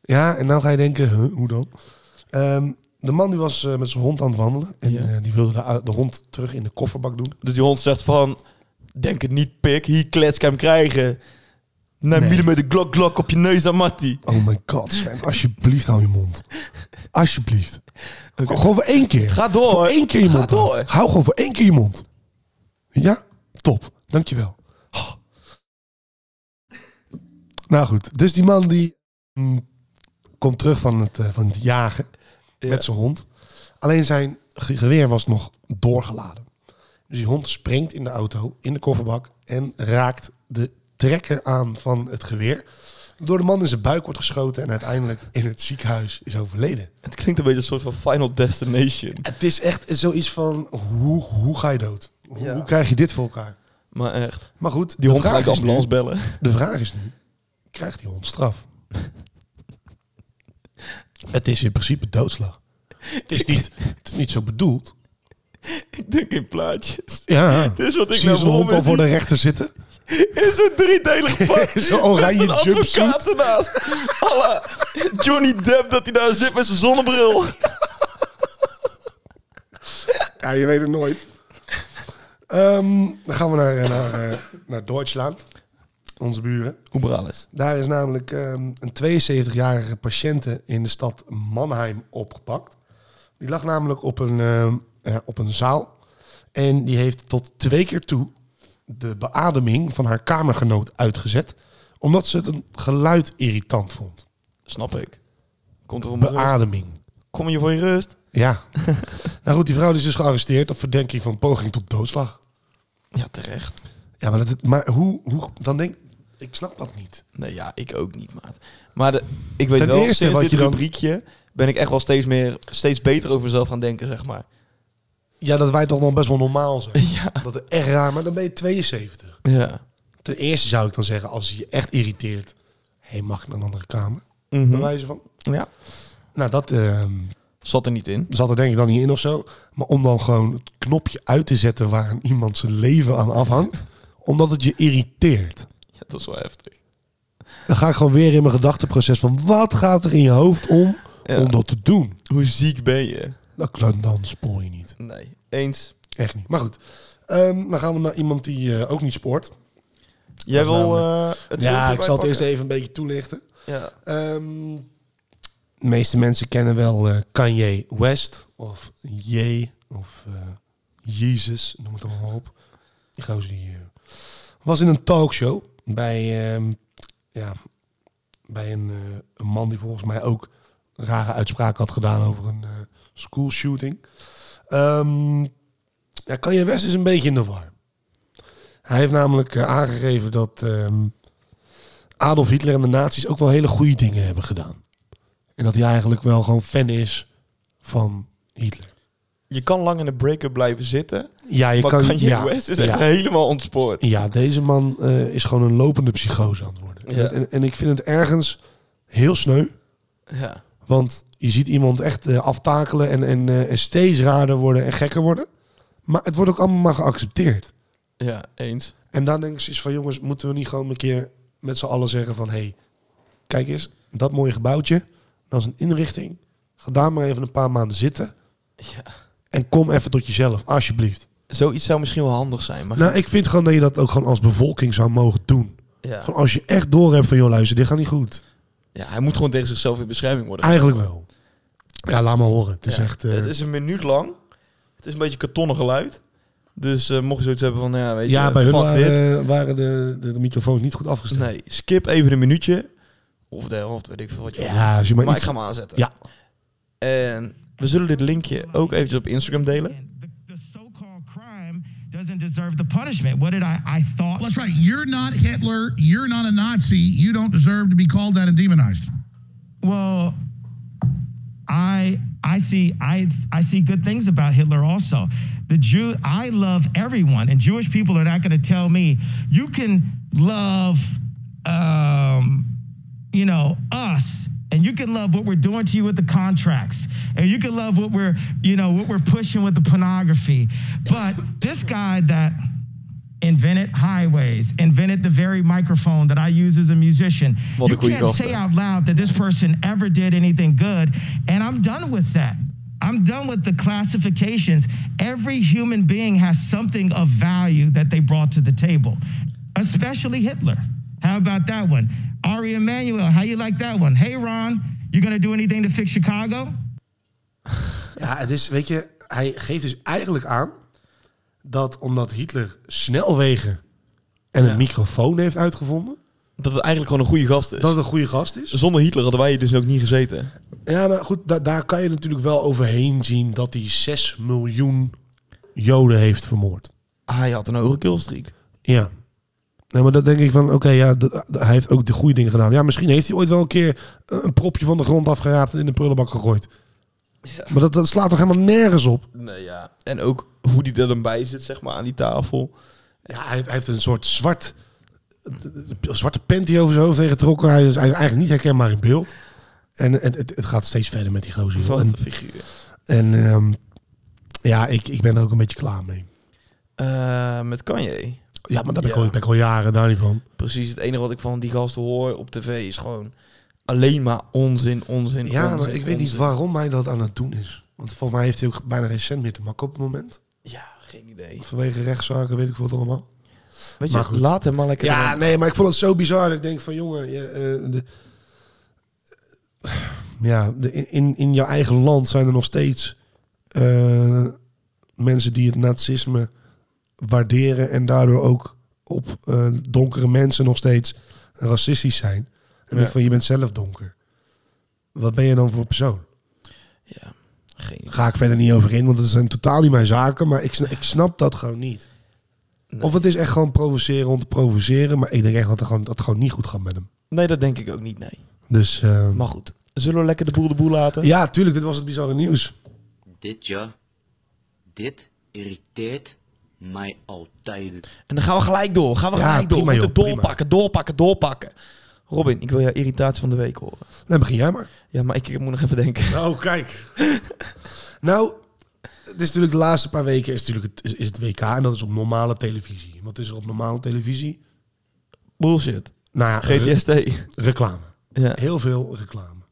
Ja, en nou ga je denken, huh, hoe dan? Ehm, de man die was eh, met zijn hond aan het wandelen. En Ja. eh, die wilde de, de hond terug in de kofferbak doen. Dus die hond zegt van, denk het niet pik, hier klets ik hem krijgen. Neem Nee. millimeter glok glok op je neus aan Mattie. Oh my god, Sven, alsjeblieft hou je mond. Alsjeblieft. Oké. Gewoon voor één keer. Ga door. Voor één keer je Ga mond. door. houden. Hou gewoon voor één keer je mond. Ja? Top. Dankjewel. Ah. Nou goed, dus die man die mm, komt terug van het, eh, van het jagen Ja. met zijn hond. Alleen zijn ge- geweer was nog doorgeladen. Dus die hond springt in de auto, in de kofferbak en raakt de trekker aan van het geweer. Door de man in zijn buik wordt geschoten en uiteindelijk in het ziekenhuis is overleden. Het klinkt een beetje een soort van Final Destination. Het is echt zoiets van, hoe, hoe ga je dood? Hoe, Ja. hoe krijg je dit voor elkaar? Maar echt. Maar goed, Die de, hond vraag gelijk de is nu, ambulance bellen. de vraag is nu, krijgt die hond straf? het is in principe doodslag. Het is niet, het is niet zo bedoeld. Ik denk in plaatjes. Ja. Dit is wat ik Zie je nou zo'n hond voor al me voor zie. de rechter zitten? In zo'n driedelig pak. Zo'n oranje Met een advocaat jumpsuit. ernaast. Alla Johnny Depp dat hij daar zit met zijn zonnebril. Ja, je weet het nooit. Ehm, dan gaan we naar, eh, naar, eh, naar Duitsland, onze buren. Oebrales. Daar is namelijk ehm, een 72-jarige patiënte in de stad Mannheim opgepakt. Die lag namelijk op een, ehm, eh, op een zaal. En die heeft tot twee keer toe de beademing van haar kamergenoot uitgezet. Omdat ze het een geluid irritant vond. Snap ik. Komt er om rust. Beademing. Kom je voor je rust? Ja. nou goed, die vrouw is dus gearresteerd op verdenking van poging tot doodslag. Ja, terecht. Ja, maar, dat, maar hoe, hoe... Dan denk ik... snap dat niet. Nee, ja, ik ook niet, maat. Maar de, ik weet Ten wel, eerste sinds wat dit je dan- rubriekje ben ik echt wel steeds, meer, steeds beter over mezelf gaan denken, zeg maar. Ja, dat wij toch nog best wel normaal zijn. Ja. Dat is echt raar, maar dan ben je 72. Ja. Ten eerste zou ik dan zeggen, als je je echt irriteert... Hé, hey, mag ik naar een andere kamer? Bij Mhm. wijze van... Ja. Nou, dat ehm, Zat er niet in. zat er denk ik dan niet in of zo. Maar om dan gewoon het knopje uit te zetten... waar iemand zijn leven aan afhangt... omdat het je irriteert. Ja, dat is wel heftig. Dan ga ik gewoon weer in mijn gedachteproces van wat gaat er in je hoofd om Ja. om dat te doen. Hoe ziek ben je? Dat, dan, dan spoor je niet. Nee, eens. Echt niet. Maar goed, Ehm, dan gaan we naar iemand die eh, ook niet spoort. Jij Dat is wil eh, het ja, filmpje ik zal het eerst bijpakken? even een beetje toelichten. Ja. Ehm, de meeste mensen kennen wel eh, Kanye West of Ye of eh Jezus, noem het allemaal maar op. Die gozer die eh, was in een talkshow bij, ehm, ja, bij een, eh, een man die volgens mij ook rare uitspraken had gedaan over een eh, school schoolshooting. Ehm, ja, Kanye West is een beetje in de war. Hij heeft namelijk eh, aangegeven dat ehm, Adolf Hitler en de nazi's ook wel hele goede dingen hebben gedaan. En dat hij eigenlijk wel gewoon fan is van Hitler. Je kan lang in de break-up blijven zitten, Ja, je maar kan... kan, Kanye ja, West is ja. echt helemaal ontspoord. Ja, deze man eh, is gewoon een lopende psychose aan het worden. En Ja. het- En, en ik vind het ergens heel sneu. Ja. Want je ziet iemand echt eh, aftakelen en, en, eh, en steeds raarder worden en gekker worden. Maar het wordt ook allemaal maar geaccepteerd. ja, eens. En dan denk ik zoiets van, jongens, moeten we niet gewoon een keer met z'n allen zeggen van... hé, hey, kijk eens, dat mooie gebouwtje, dat is een inrichting. Ga daar maar even een paar maanden zitten. Ja. En kom even tot jezelf, alsjeblieft. Zoiets zou misschien wel handig zijn, maar... Nou, ik vind gewoon dat je dat ook gewoon als bevolking zou mogen doen. ja. Gewoon als je echt door hebt van, joh, luister, dit gaat niet goed. ja, hij moet gewoon tegen zichzelf in bescherming worden. Eigenlijk wel. Ja, laat maar horen. Het is Ja. echt... eh, Het is een minuut lang. Het is een beetje kartonnen geluid. Dus eh, mocht je zoiets hebben van, nou ja, weet ja, je, bij hun eh, fuck dit. waren, waren de, de, de microfoons niet goed afgestemd. Nee, skip even een minuutje. Of de helft, weet ik veel wat je Ja, als je maar, Maar ik iets- ga hem aanzetten. Ja. En we zullen dit linkje ook eventjes op Instagram delen. The, the so-called crime doesn't deserve the punishment. What did I? I thought. Well, that's right. You're not Hitler. You're not a Nazi. You don't deserve to be called that and demonized. Well, I I see I I see good things about Hitler also. The Jew I love everyone, and Jewish people are not going to tell me you can love, um, you know, us. And you can love what we're doing to you with the contracts, and you can love what we're, you know, what we're pushing with the pornography. But this guy that invented highways, invented the very microphone that I use as a musician. Wat you een goeie can't gasten. say out loud that this person ever did anything good, and I'm done with that. I'm done with the classifications. Every human being has something of value that they brought to the table, especially Hitler. How about that one? Ari Emanuel, how you like that one? Hey Ron, you gonna do anything to fix Chicago? Ja, het is, weet je, hij geeft dus eigenlijk aan dat omdat Hitler snelwegen en een microfoon heeft uitgevonden, Dat het eigenlijk gewoon een goede gast is. dat het een goede gast is. Zonder Hitler hadden wij hier dus ook niet gezeten. Ja, maar goed, da- daar kan je natuurlijk wel overheen zien dat hij 6 miljoen Joden heeft vermoord. Hij had een hoge killstreak. Ja. Nee, maar dat denk ik van, oké, ja, dat- dat- hij heeft ook de goede dingen gedaan. Ja, misschien heeft hij ooit wel een keer een propje van de grond afgeraapt en in de prullenbak gegooid. Maar dat, dat slaat toch helemaal nergens op? Nee, ja. En ook hoe die er dan bij zit, zeg maar, aan die tafel. Ja, hij, hij heeft een soort zwart, een zwarte panty over zijn hoofd heen getrokken. Hij is, hij is eigenlijk niet herkenbaar in beeld. En het, het, het gaat steeds verder met die gozer. joh. Wat En, een figuur. en ehm, ja, ik, ik ben er ook een beetje klaar mee. Eh, met Kanye. Ja, maar daar ben ik, Ja. al, ben ik al jaren daar niet van. Precies, het enige wat ik van die gast hoor op tv is gewoon alleen maar onzin, onzin, Ja, maar onzin, ik weet niet onzin. waarom hij dat aan het doen is. Want volgens mij heeft hij ook bijna recent meer te maken op het moment. Ja, geen idee. Vanwege rechtszaken, weet ik wat allemaal. Weet Maar je, goed. laat hem maar lekker... Ja, dan. nee, maar ik vond het zo bizar. dat Ik denk van, jongen, je, eh, de, ja, de, in, in jouw eigen land zijn er nog steeds eh, mensen die het nazisme waarderen en daardoor ook op eh, donkere mensen nog steeds racistisch zijn. En ik denk van, je bent zelf donker. Wat ben je dan voor persoon? Ja, geen idee. Ga ik verder niet over in, want dat zijn totaal niet mijn zaken. Maar ik, sna- ik snap dat gewoon niet. Nee. Of het is echt gewoon provoceren om te provoceren. Maar ik denk echt dat het gewoon, dat het gewoon niet goed gaat met hem. Nee, dat denk ik ook niet, nee. Dus eh, Maar goed, zullen we lekker de boel de boel laten? ja, tuurlijk, dit was het bizarre nieuws. Dit ja, dit irriteert mij altijd. En dan gaan we gelijk door, gaan we Ja, gelijk door. prima, We moeten joh, prima. doorpakken, doorpakken, doorpakken. Robin, ik wil jouw irritatie van de week horen. Dan begin jij maar. Ja, maar ik, ik moet nog even denken. Nou, kijk. nou, het is natuurlijk de laatste paar weken is, natuurlijk het, is, is het WK. En dat is op normale televisie. Wat is er op normale televisie? Bullshit. Nou ja, re- GTST. reclame. Ja. Heel veel reclame.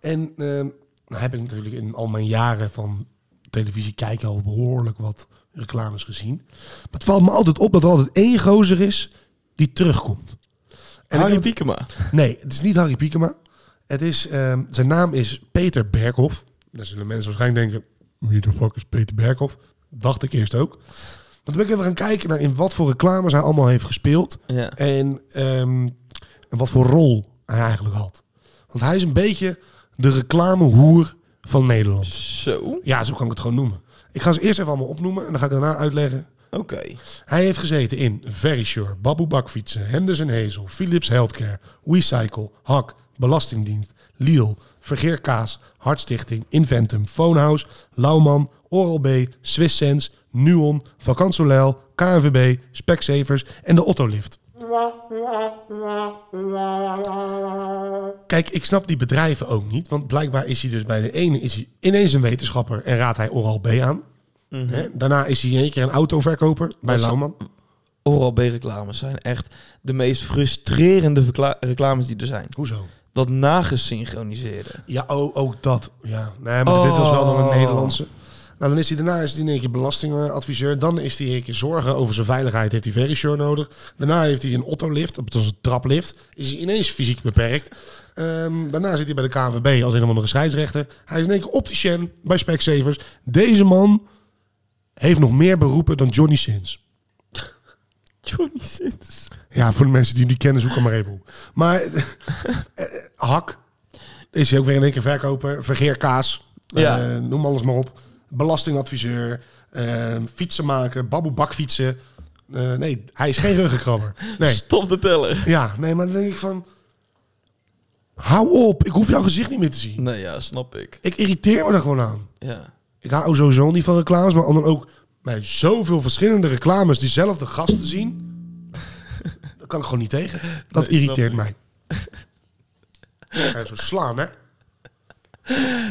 En ehm nou heb ik natuurlijk in al mijn jaren van televisie kijken al behoorlijk wat reclames gezien. Maar het valt me altijd op dat er altijd één gozer is die terugkomt. En ik Harry heb- Piekema. Nee, het is niet Harry Piekema. Het is, ehm, zijn naam is Peter Berghoff. Daar zullen mensen waarschijnlijk denken... Wie de fuck is Peter Berghoff? Dacht ik eerst ook. Maar toen ben ik even gaan kijken naar in wat voor reclames hij allemaal heeft gespeeld. Ja. En, ehm, en wat voor rol hij eigenlijk had. Want hij is een beetje de reclamehoer van Nederland. Zo. Ja, zo kan ik het gewoon noemen. Ik ga ze eerst even allemaal opnoemen en dan ga ik daarna uitleggen Oké. hij heeft gezeten in Verisure, Baboe Bakfietsen, Henderson Hazel, Philips Healthcare, WeCycle, Hak, Belastingdienst, Lidl, Vergeer Kaas, Hartstichting, Inventum, Phonehouse, Lauwman, Oral B, Swiss Sense, Nuon, Vakant Soleil, KNVB, Specsavers en de Ottolift. Kijk, ik snap die bedrijven ook niet. Want blijkbaar is hij dus bij de ene is hij ineens een wetenschapper en raadt hij Oral B aan. Hè? Daarna is hij in één keer een autoverkoper bij is- Lauwman. Oral B-reclames zijn echt de meest frustrerende verkla- reclames die er zijn. Hoezo? Dat nagesynchroniseerde. Ja, ook, ook dat. Ja. Nee, maar dit was wel dan een Oh. Nederlandse. Nou, dan is hij daarna is hij in één keer belastingadviseur. Dan is hij in één keer zorgen over zijn veiligheid. Heeft hij Verisure nodig. Daarna heeft hij een Otto-lift. Dat is een traplift. Is hij ineens fysiek beperkt. Ehm, daarna zit hij bij de KNVB als helemaal nog een scheidsrechter. Hij is in één keer opticien bij Specsavers. Deze man heeft nog meer beroepen dan Johnny Sins. Johnny Sins. Ja, voor de mensen die die kennen, zoek hem maar even op. Maar eh, Hak is hij ook weer in één keer verkoper. Vergeer kaas. eh, Ja. noem alles maar op. Belastingadviseur. eh, fietsenmaker. Baboe bakfietsen. Eh, nee, hij is geen ruggenkrabber. Nee. Stop de teller. Ja, nee, maar dan denk ik van... Hou op, ik hoef jouw gezicht niet meer te zien. Nou ja, snap ik. Ik irriteer me er gewoon aan. Ja. Ik hou sowieso niet van reclames, maar dan ook bij zoveel verschillende reclames diezelfde gasten zien. dat kan ik gewoon niet tegen. Dat Nee, snap irriteert ik. mij. Ga je zo slaan, hè?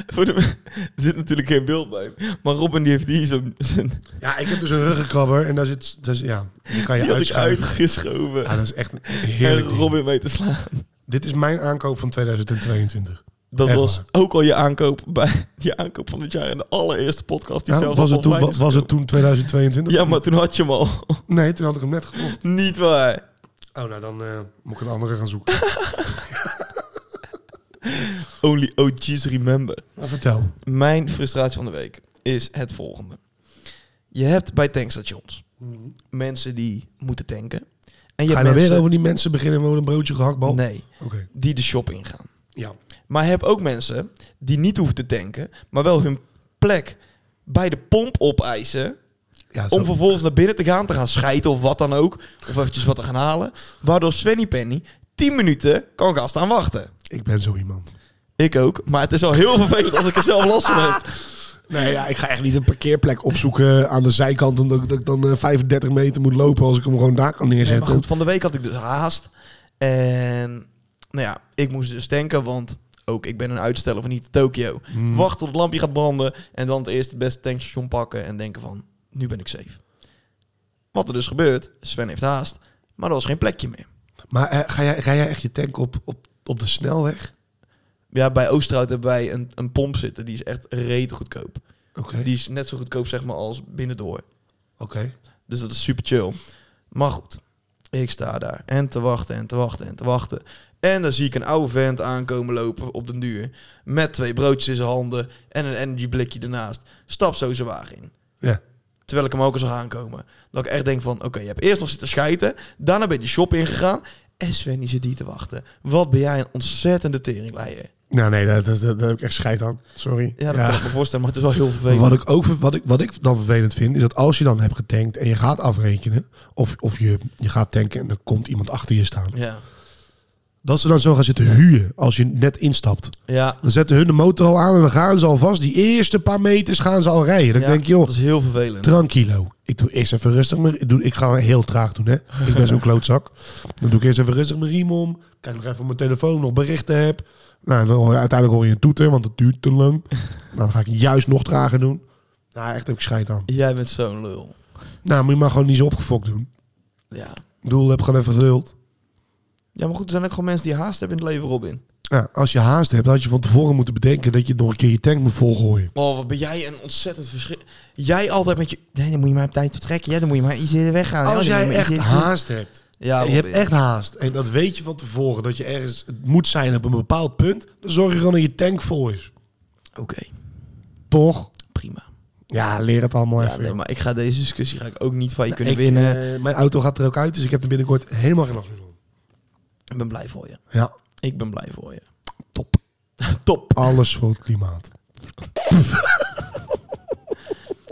Voor de, er zit natuurlijk geen beeld bij. Maar Robin die heeft die zo'n... zijn- Ja, ik heb dus een ruggenkrabber en daar zit... Dus, ja, die kan je Die had ik uitschuiven. uitgeschoven. Ja, dat is echt een en heerlijk ding. Robin mee te slaan. Dit is mijn aankoop van 2022. Dat Echt was waar. ook al je aankoop bij je aankoop van dit jaar in de allereerste podcast die Ja, zelfs Nou, was, al het toen, online was, is was het toen 2022? Ja, maar toen had je hem al. Nee, toen had ik hem net gekocht. Niet waar. Oh, nou dan eh, moet ik een andere gaan zoeken. Only OG's remember. Maar Nou, vertel. Mijn frustratie van de week is het volgende. Je hebt bij tankstations mensen die moeten tanken. En je Ga je hebt nou mensen weer over die mensen beginnen met een broodje gehaktbal? nee, Oké, die de shop ingaan. ja. Maar je hebt ook mensen die niet hoeven te tanken, maar wel hun plek bij de pomp opeisen. ja zo- Om vervolgens naar binnen te gaan, te gaan schijten of wat dan ook. Of eventjes wat te gaan halen. Waardoor Svenny Penny 10 minuten kan gaan staan wachten. Ik ben zo iemand. Ik ook, maar het is al heel vervelend als ik er zelf last van heb. Nee, ja, ik ga echt niet een parkeerplek opzoeken eh, aan de zijkant... omdat ik, dat ik dan eh, 35 meter moet lopen als ik hem gewoon daar kan Nee, maar neerzetten. goed, van de week had ik dus haast. En nou ja, ik moest dus tanken, want ook ik ben een uitsteller van niet Tokio. Wacht tot het lampje gaat branden en dan het eerst het beste tankstation pakken en denken van, nu ben ik safe. Wat er dus gebeurt, Sven heeft haast, maar er was geen plekje meer. maar eh, ga, jij, ga jij echt je tank op, op, op de snelweg? Ja, bij Oosterhout hebben wij een, een pomp zitten, die is echt rete goedkoop. Oké. Die is net zo goedkoop zeg maar als binnendoor. Oké. Dus dat is super chill. Maar goed, ik sta daar en te wachten en te wachten en te wachten. En dan zie ik een oude vent aankomen lopen op den duur. Met twee broodjes in zijn handen en een energy blikje ernaast. Stap zo zijn wagen in. Ja. Terwijl ik hem ook al zag aankomen. Dat ik echt denk van, oké, je hebt eerst nog zitten schijten. Daarna ben je de shop ingegaan. En Svenny zit hier te wachten. Wat ben jij een ontzettende teringleier. Nou nee, daar dat, dat, dat heb ik echt scheid aan. Sorry. Ja, dat kan ik me voorstellen, maar het is wel heel vervelend. Wat ik, ook, ver- wat, ik, wat ik dan vervelend vind, is dat als je dan hebt getankt en je gaat afrekenen... of, of je, je gaat tanken en er komt iemand achter je staan... Ja. dat ze dan zo gaan zitten huwen als je net instapt. Ja. Dan zetten hun de motor al aan en dan gaan ze alvast die eerste paar meters gaan ze al rijden. Dan ja, denk je, joh, Dat is heel vervelend. tranquilo. Ik doe eerst even rustig. Mijn, ik, doe, ik ga heel traag doen, hè. Ik ben zo'n klootzak. Dan doe ik eerst even rustig mijn riem om. Kijk nog even op mijn telefoon, nog berichten heb. Nou, dan hoor je- uiteindelijk hoor je een toeter, want het duurt te lang. Nou, dan ga ik juist nog trager doen. Nou, echt heb ik scheid aan. Jij bent zo'n lul. Nou, moet je maar gewoon niet zo opgefokt doen. Ja. Ik bedoel, heb gewoon even geduld. Ja, maar goed, er zijn ook gewoon mensen die haast hebben in het leven, Robin. Ja, als je haast hebt, had je van tevoren moeten bedenken dat je nog een keer je tank moet volgooien. Oh, wat ben jij een ontzettend verschil. Jij altijd met je... Nee, dan moet je maar op tijd vertrekken. Ja, dan moet je maar iets eerder weggaan. Ja, Als dan moet jij je maar echt iets- haast hebt, Ja, en je hebt Robin. echt haast, en dat weet je van tevoren, dat je ergens het moet zijn op een bepaald punt, dan zorg je gewoon dat je tank vol is. Oké, Toch? prima. Ja, leer het allemaal Ja, even. nee, maar ik ga deze discussie ga ik ook niet van je kunnen Ik, winnen. eh, mijn auto gaat er ook uit, dus ik heb er binnenkort helemaal geen last meer van. Ik ben blij voor je. Ja, Ik ben blij voor je. top. Top. Alles voor het klimaat.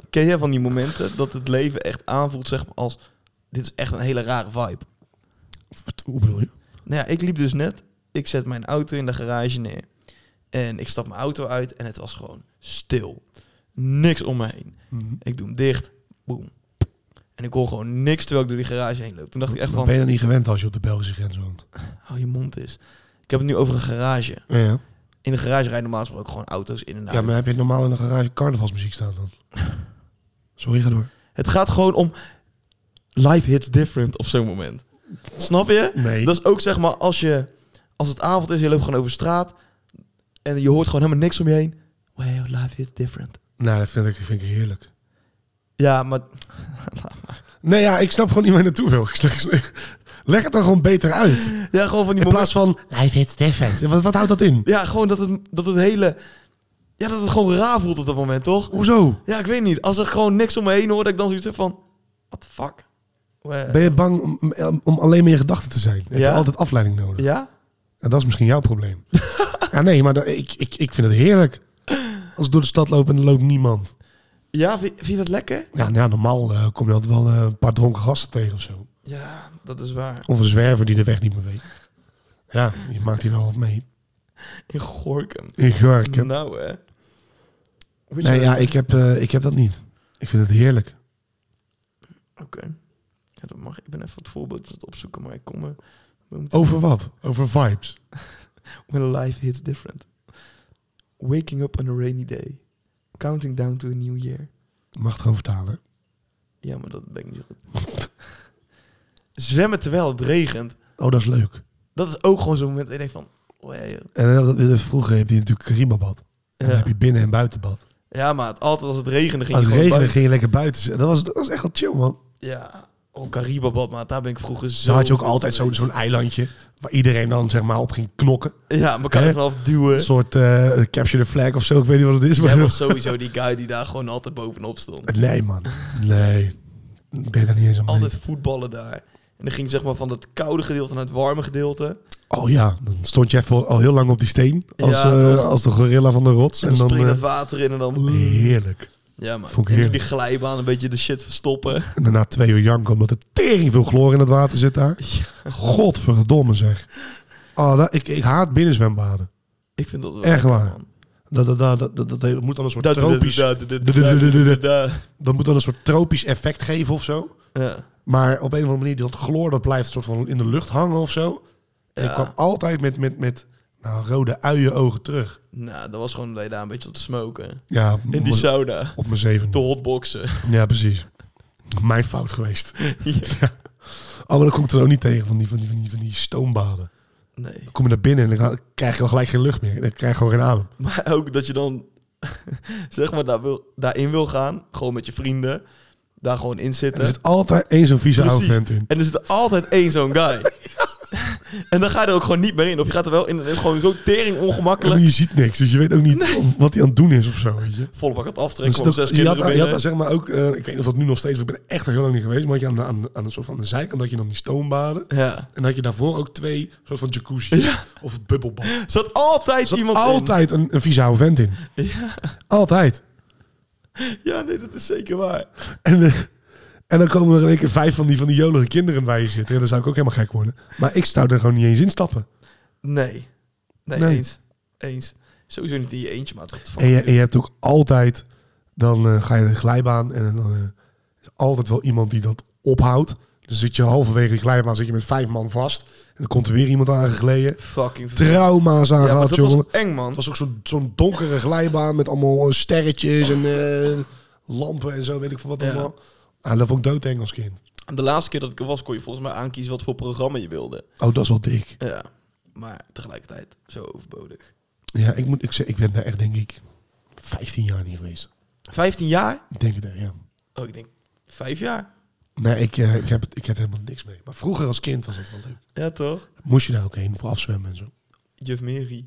Ken jij van die momenten dat het leven echt aanvoelt zeg maar, als... Dit is echt een hele rare vibe. Wat- Hoe bedoel je? Nou ja, ik liep dus net. Ik zet mijn auto in de garage neer. En ik stap mijn auto uit en het was gewoon stil. Niks om me heen. Mhm. Ik doe hem dicht. Boom. En ik hoor gewoon niks terwijl ik door die garage heen loop. Toen dacht ik echt Dan ben van, je dan niet gewend als je op de Belgische grens woont. hou je mond eens. Ik heb het nu over een garage. Ja, In een garage rijden normaal gesproken gewoon auto's in en uit. ja maar heb je normaal in de garage carnavalsmuziek staan dan? Sorry, ga door. Het gaat gewoon om life hits different op zo'n moment. Snap je? Nee. Dat is ook zeg maar als je als het avond is, je loopt gewoon over straat en je hoort gewoon helemaal niks om je heen. Wow, life hits different. Nou, dat vind ik, vind ik heerlijk. Ja, maar Nee, ja, ik snap gewoon niet waar je naartoe wil. Ik zeg- Leg het dan gewoon beter uit. ja, gewoon van die In momenten. plaats van... Hij zit different. Wat, wat houdt dat in? Ja, gewoon dat het, dat het hele. Ja, dat het gewoon raar voelt op dat moment, toch? Hoezo? Ja, ik weet niet. Als er gewoon niks om me heen hoort, dat ik dan zoiets heb van. What the fuck? Wow. Ben je bang om, om alleen maar in gedachten te zijn? Heb Ja. je altijd afleiding nodig? Ja? En dat is misschien jouw probleem. ja, nee, maar dat- ik, ik, ik vind het heerlijk. Als ik door de stad loop en er loopt niemand. Ja, vind, vind je dat lekker? Ja, nou ja, normaal eh, kom je altijd wel eh, een paar dronken gasten tegen of zo. Ja, dat is waar. Of een zwerver die de weg niet meer weet. Ja, je maakt hier wel wat mee. In Gorkum. In Gorkum. Nou, hè. Weet je Nee, wel- ja, ik heb, eh, ik heb dat niet. Ik vind het heerlijk. Oké. Ja, dat mag. Ik ben even het voorbeeld aan het opzoeken, maar ik kom er. We moeten- Over wat? Over vibes. When life hits different. Waking up on a rainy day. Counting down to a new year. Mag het gewoon vertalen. Ja, maar dat denk ik niet zo goed. Zwemmen terwijl het regent. Oh, dat is leuk. Dat is ook gewoon zo'n moment dat je denkt van... Oh ja, joh. En dan- dat- vroeger heb je natuurlijk Caribabad. En Ja. dan heb je binnen- en buitenbad. ja, maar het, altijd als het regende ging Als het je gewoon regende ging je lekker buiten. zitten. Dat was, dat was echt wel chill, man. buiten. Ja. Oh, Caribabad, maar daar ben ik vroeger zo... Daar had je ook veel altijd zo'n geweest. zo'n eilandje waar iedereen dan zeg maar op ging knokken. Ja, elkaar Hè? even afduwen. Een soort eh, capture the flag of zo, ik weet niet wat het is. Maar Jij was sowieso die guy die daar gewoon altijd bovenop stond. Nee man, nee. Ben je daar niet eens aan mee? Altijd voetballen daar. En dan ging zeg maar van het koude gedeelte naar het warme gedeelte. Oh ja, dan stond je even al heel lang op die steen als, Ja, eh, toch? als de gorilla van de rots. En dan, spring je eh, dat water in en dan... heerlijk. Ja, maar Vond ik en doe die heerlijk. glijbaan een beetje de shit verstoppen. En daarna twee uur janken omdat er tering veel chloor in het water zit daar. Godverdomme zeg. Oh, dat, ik, ik haat binnenzwembaden. Ik vind dat wel Echt lekker, waar. man. Dat, dat, dat, dat, dat, dat moet dan een soort Dat- dat- tropisch... dat- dat- dat- dat- dat- dat- Dat moet dan een soort tropisch effect geven of zo. Ja. Maar op een of andere manier, dat chloor dat blijft soort van in de lucht hangen of zo. En ik kwam altijd met, met, met nou, rode uienogen terug. Nou, dat was gewoon dat je daar een beetje op te smoken. Ja, In die sauna. op mijn Te zeven. hotboxen. Ja, precies. Mijn fout geweest. Ja. Oh, maar dan kom ik er ook niet tegen van die, van die, van die, van die stoombaden. Nee. Dan kom je naar binnen en dan krijg je al gelijk geen lucht meer. Dan krijg je gewoon geen adem. Maar ook dat je dan, zeg maar, daar wil, daarin wil gaan. Gewoon met je vrienden. Daar gewoon in Er zitten. zit altijd één zo'n vieze oude Precies. vent in. En er zit altijd één zo'n guy. En dan ga je er ook gewoon niet meer in. Of je gaat er wel in. En het is gewoon zo tering En ongemakkelijk. je ziet niks, dus je weet ook niet of- wat hij aan het doen is of zo. Weet je. Volle bak het Dus aftrekken. dat- Om zes je, had, kinderen daar- je had daar binnen. zeg maar ook, eh, ik weet niet of dat nu nog steeds, want ik ben er echt al heel lang niet geweest, maar had je aan, de- aan, de- aan, een soort van de zijkant dat je dan die stoombaden. Ja. En had je daarvoor ook twee soort van jacuzzi of een bubbelbad. dus- Er Er zat altijd zat iemand in. altijd een, een vieze oude vent in. Altijd. Ja, nee, dat is zeker waar. En, eh, en dan komen er in één keer vijf van die, van die jolige kinderen bij je zitten. Ja, dan zou ik ook helemaal gek worden. Maar ik zou er gewoon niet eens instappen. Nee. Nee, Nee. eens. Eens. Sowieso niet in je eentje, maar het En je, en je hebt ook altijd, dan eh, ga je de glijbaan en dan eh, is altijd wel iemand die dat ophoudt. Dan zit je halverwege die glijbaan zit je met vijf man vast. En dan komt er weer iemand aangegleden. fucking vervelend. Trauma's Ja, maar aangehaald, dat jongen. was eng, man. Het was ook zo'n zo'n donkere glijbaan met allemaal eh, sterretjes en eh, lampen en zo, weet ik veel wat Ja. allemaal. Ah, dat vond ik doodeng als kind. De laatste keer dat ik er was, kon je volgens mij aankiezen wat voor programma je wilde. Oh, dat is wel dik. Ja. Maar tegelijkertijd zo overbodig. Ja, ik, moet, ik, zeg, ik ben daar echt, denk ik, 15 jaar niet geweest. 15 jaar? Ik denk het echt, ja. Oh, ik denk 5 jaar. Nee, ik, eh, ik, heb, het- ik heb helemaal niks mee. Maar vroeger als kind was dat wel leuk. Ja, toch? Moest je daar ook heen voor afzwemmen en zo. Juf Mary.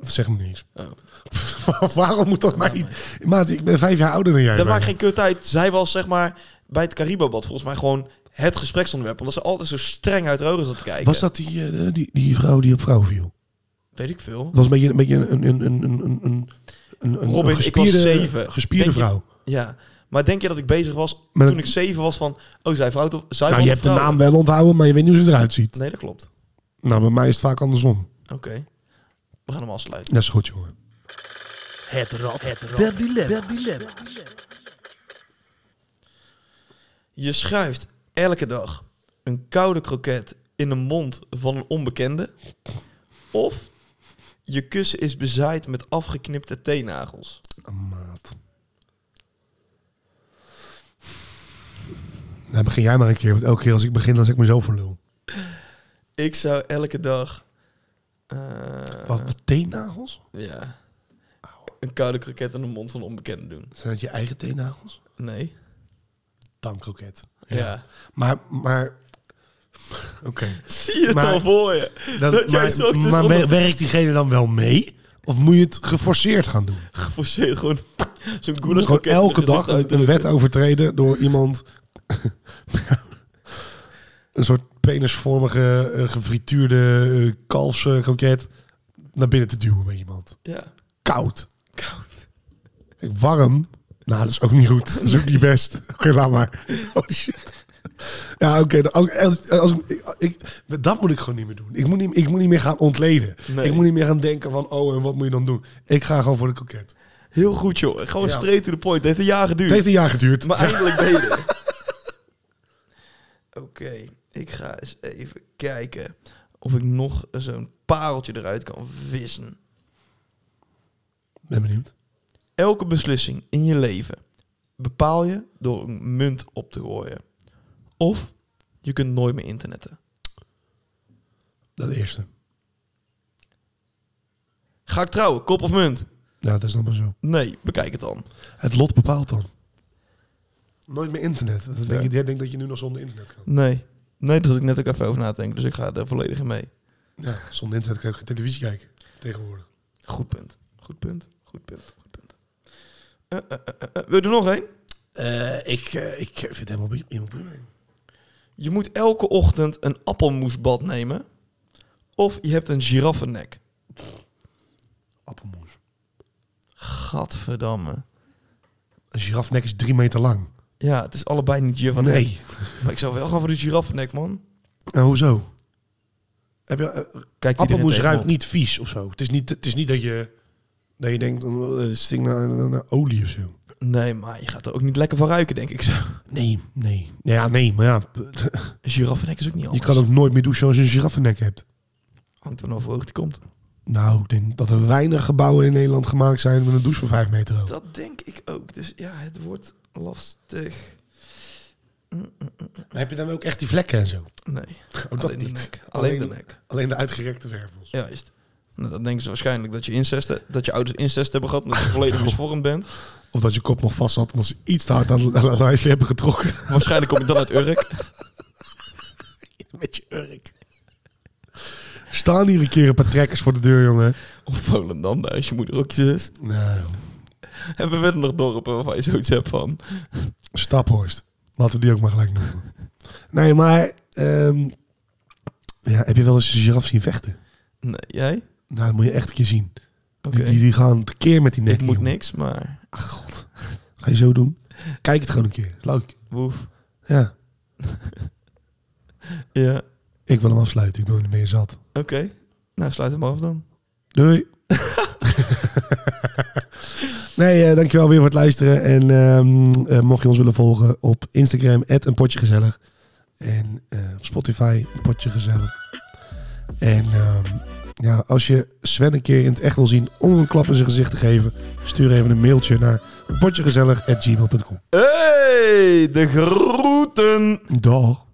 Dat zegt me niks. Oh. Waarom moet dat mij niet? Maat, ik ben vijf jaar ouder dan Dat jij. bijna. maakt geen kut uit. Zij was zeg maar bij het Caribobad volgens mij gewoon het gespreksonderwerp. Omdat ze altijd zo streng uit haar ogen zat te kijken. Was dat die, eh, de- die, die vrouw die op vrouw viel? Weet ik veel. Dat was een beetje een, beetje een, een, een, een, een, een, een, een Robin, ik was gespierde, zeven. gespierde Denk je- vrouw. Ja. Maar denk je dat ik bezig was Maar toen dat- ik zeven was van... Oh, zij vrouw op zij Nou, valt je op hebt de vrouwen? naam wel onthouden, maar je weet niet hoe ze eruit ziet. Nee, dat klopt. Nou, bij mij is het vaak andersom. Oké. We gaan hem afsluiten. Dat is goed, jongen. Je schuift elke dag een koude kroket in de mond van een onbekende. Of je kussen is bezaaid met afgeknipte teennagels. Maat. Nou, begin jij maar een keer. Want elke keer als ik begin, dan zet ik mezelf voor lul. Ik zou elke dag... eh, Wat, de teennagels? Ja. Een koude kroket in de mond van een onbekende doen. Zijn dat je eigen teennagels? Nee. Dankroket. Ja. Maar, maar... Oké. Zie je het Maar- al voor je? Dat, jij zo dus maar onder- wer- werkt diegene dan wel mee? Of moet je het geforceerd gaan doen? geforceerd gewoon zo'n Dus goelig gewoon kroket in elke het gezicht dag een, een uitdrukken. wet overtreden door iemand... een soort penisvormige, eh, gefrituurde eh, kalfskroket naar binnen te duwen bij iemand. Ja. Koud. Koud. Kijk, Warm. Nou, dat is ook niet goed. Dat is ook niet best. Oké, laat maar. Oh shit. Ja, oké. dan- als- als, als, ik, ik- dat moet ik gewoon niet meer doen. Ik moet niet, ik moet niet meer gaan ontleden. Nee. Ik moet niet meer gaan denken van, oh, en wat moet je dan doen? Ik ga gewoon voor de koket. Heel goed, joh. Gewoon Ja. straight to the point. Het heeft een jaar geduurd. Het heeft een jaar geduurd. Maar eindelijk ben je er. Oké. Ik ga eens even kijken of ik nog zo'n pareltje eruit kan vissen. Ben benieuwd. Elke beslissing in je leven bepaal je door een munt op te gooien. Of je kunt nooit meer internetten. Dat eerste. Ga ik trouwen, kop of munt? Nou, dat is dan maar zo. Nee, bekijk het dan. Het lot bepaalt dan. Nooit meer internet. Dan Denk je, jij denkt dat je nu nog zonder internet kan. Nee. Nee, daar zat ik net ook even over na te denken, dus ik ga er volledig in mee. Ja, zonder internet kan je ook geen televisie kijken. Tegenwoordig. Goed punt. Goed punt. Goed punt. Goed punt. Eh, eh, eh, eh, eh, Wil je er nog één? Eh, ik, ik vind het helemaal, helemaal prima. Je moet elke ochtend een appelmoesbad nemen. Of je hebt een giraffennek. Appelmoes. Gadverdamme. Een girafnek is drie meter lang. Ja, het is allebei niet giraffennek. Oh, Nee. Maar ik zou wel gaan voor de giraffennek, man. Nou, hoezo? Heb je, eh, Kijkt appelmoes iedereen tegenop. ruikt niet vies of zo. Het is niet, het is niet dat je, dat je denkt, oh, het stinkt naar, naar- naar olie of zo. Nee, maar je gaat er ook niet lekker van ruiken, denk ik zo. Nee, nee. Ja, nee, maar ja. Een giraffennek is ook niet Je anders. kan ook nooit meer douchen als je een giraffennek hebt. Hangt er nog voor hoog die komt. Nou, ik denk dat er weinig gebouwen in Nederland gemaakt zijn met een douche van vijf meter hoog. Dat denk ik ook. Dus ja, het wordt lastig. Heb je dan ook echt die vlekken en zo? Nee. Oh, dat Alleen de niet. nek. Alleen de nek. Alleen de uitgerekte wervels. Ja, juist. Nou, dan denken ze waarschijnlijk dat je, incest, dat je ouders incest hebben gehad... omdat je Nou. volledig misvormd bent. Of dat je kop nog vast zat en dat ze iets te hard aan aan- aan het lijstje hebben getrokken. Waarschijnlijk kom je dan uit Urk. Met je urk. Staan hier een keer een paar trekkers voor de deur, jongen. Of Volendam, daar is je moeder ook je zus. Nou, En we verder nog dorpen waarvan je zoiets hebt van... Staphorst. Laten we die ook maar gelijk noemen. Nee, maar... ehm, ja, heb je wel eens een giraf zien vechten? Nee, jij? Nou, dat moet je echt een keer zien. Oké. Die, die, die gaan tekeer met die nek. Ik moet jongen. niks, maar... Ach, god. Ga je zo doen? Kijk het gewoon een keer. Leuk. Woef. Ja. Ja, Ik wil hem afsluiten. Ik ben er niet meer zat. oké. Nou, sluit hem af dan. Doei. nee, eh, dankjewel weer voor het luisteren. En ehm, eh, mocht je ons willen volgen op Instagram, een potje gezellig. En eh, op Spotify, een potje gezellig. En ehm, Ja, als je Sven een keer in het echt wil zien om een klap in zijn gezicht te geven, stuur even een mailtje naar potjegezellig.gmail.com. Hey, de groeten. Dag.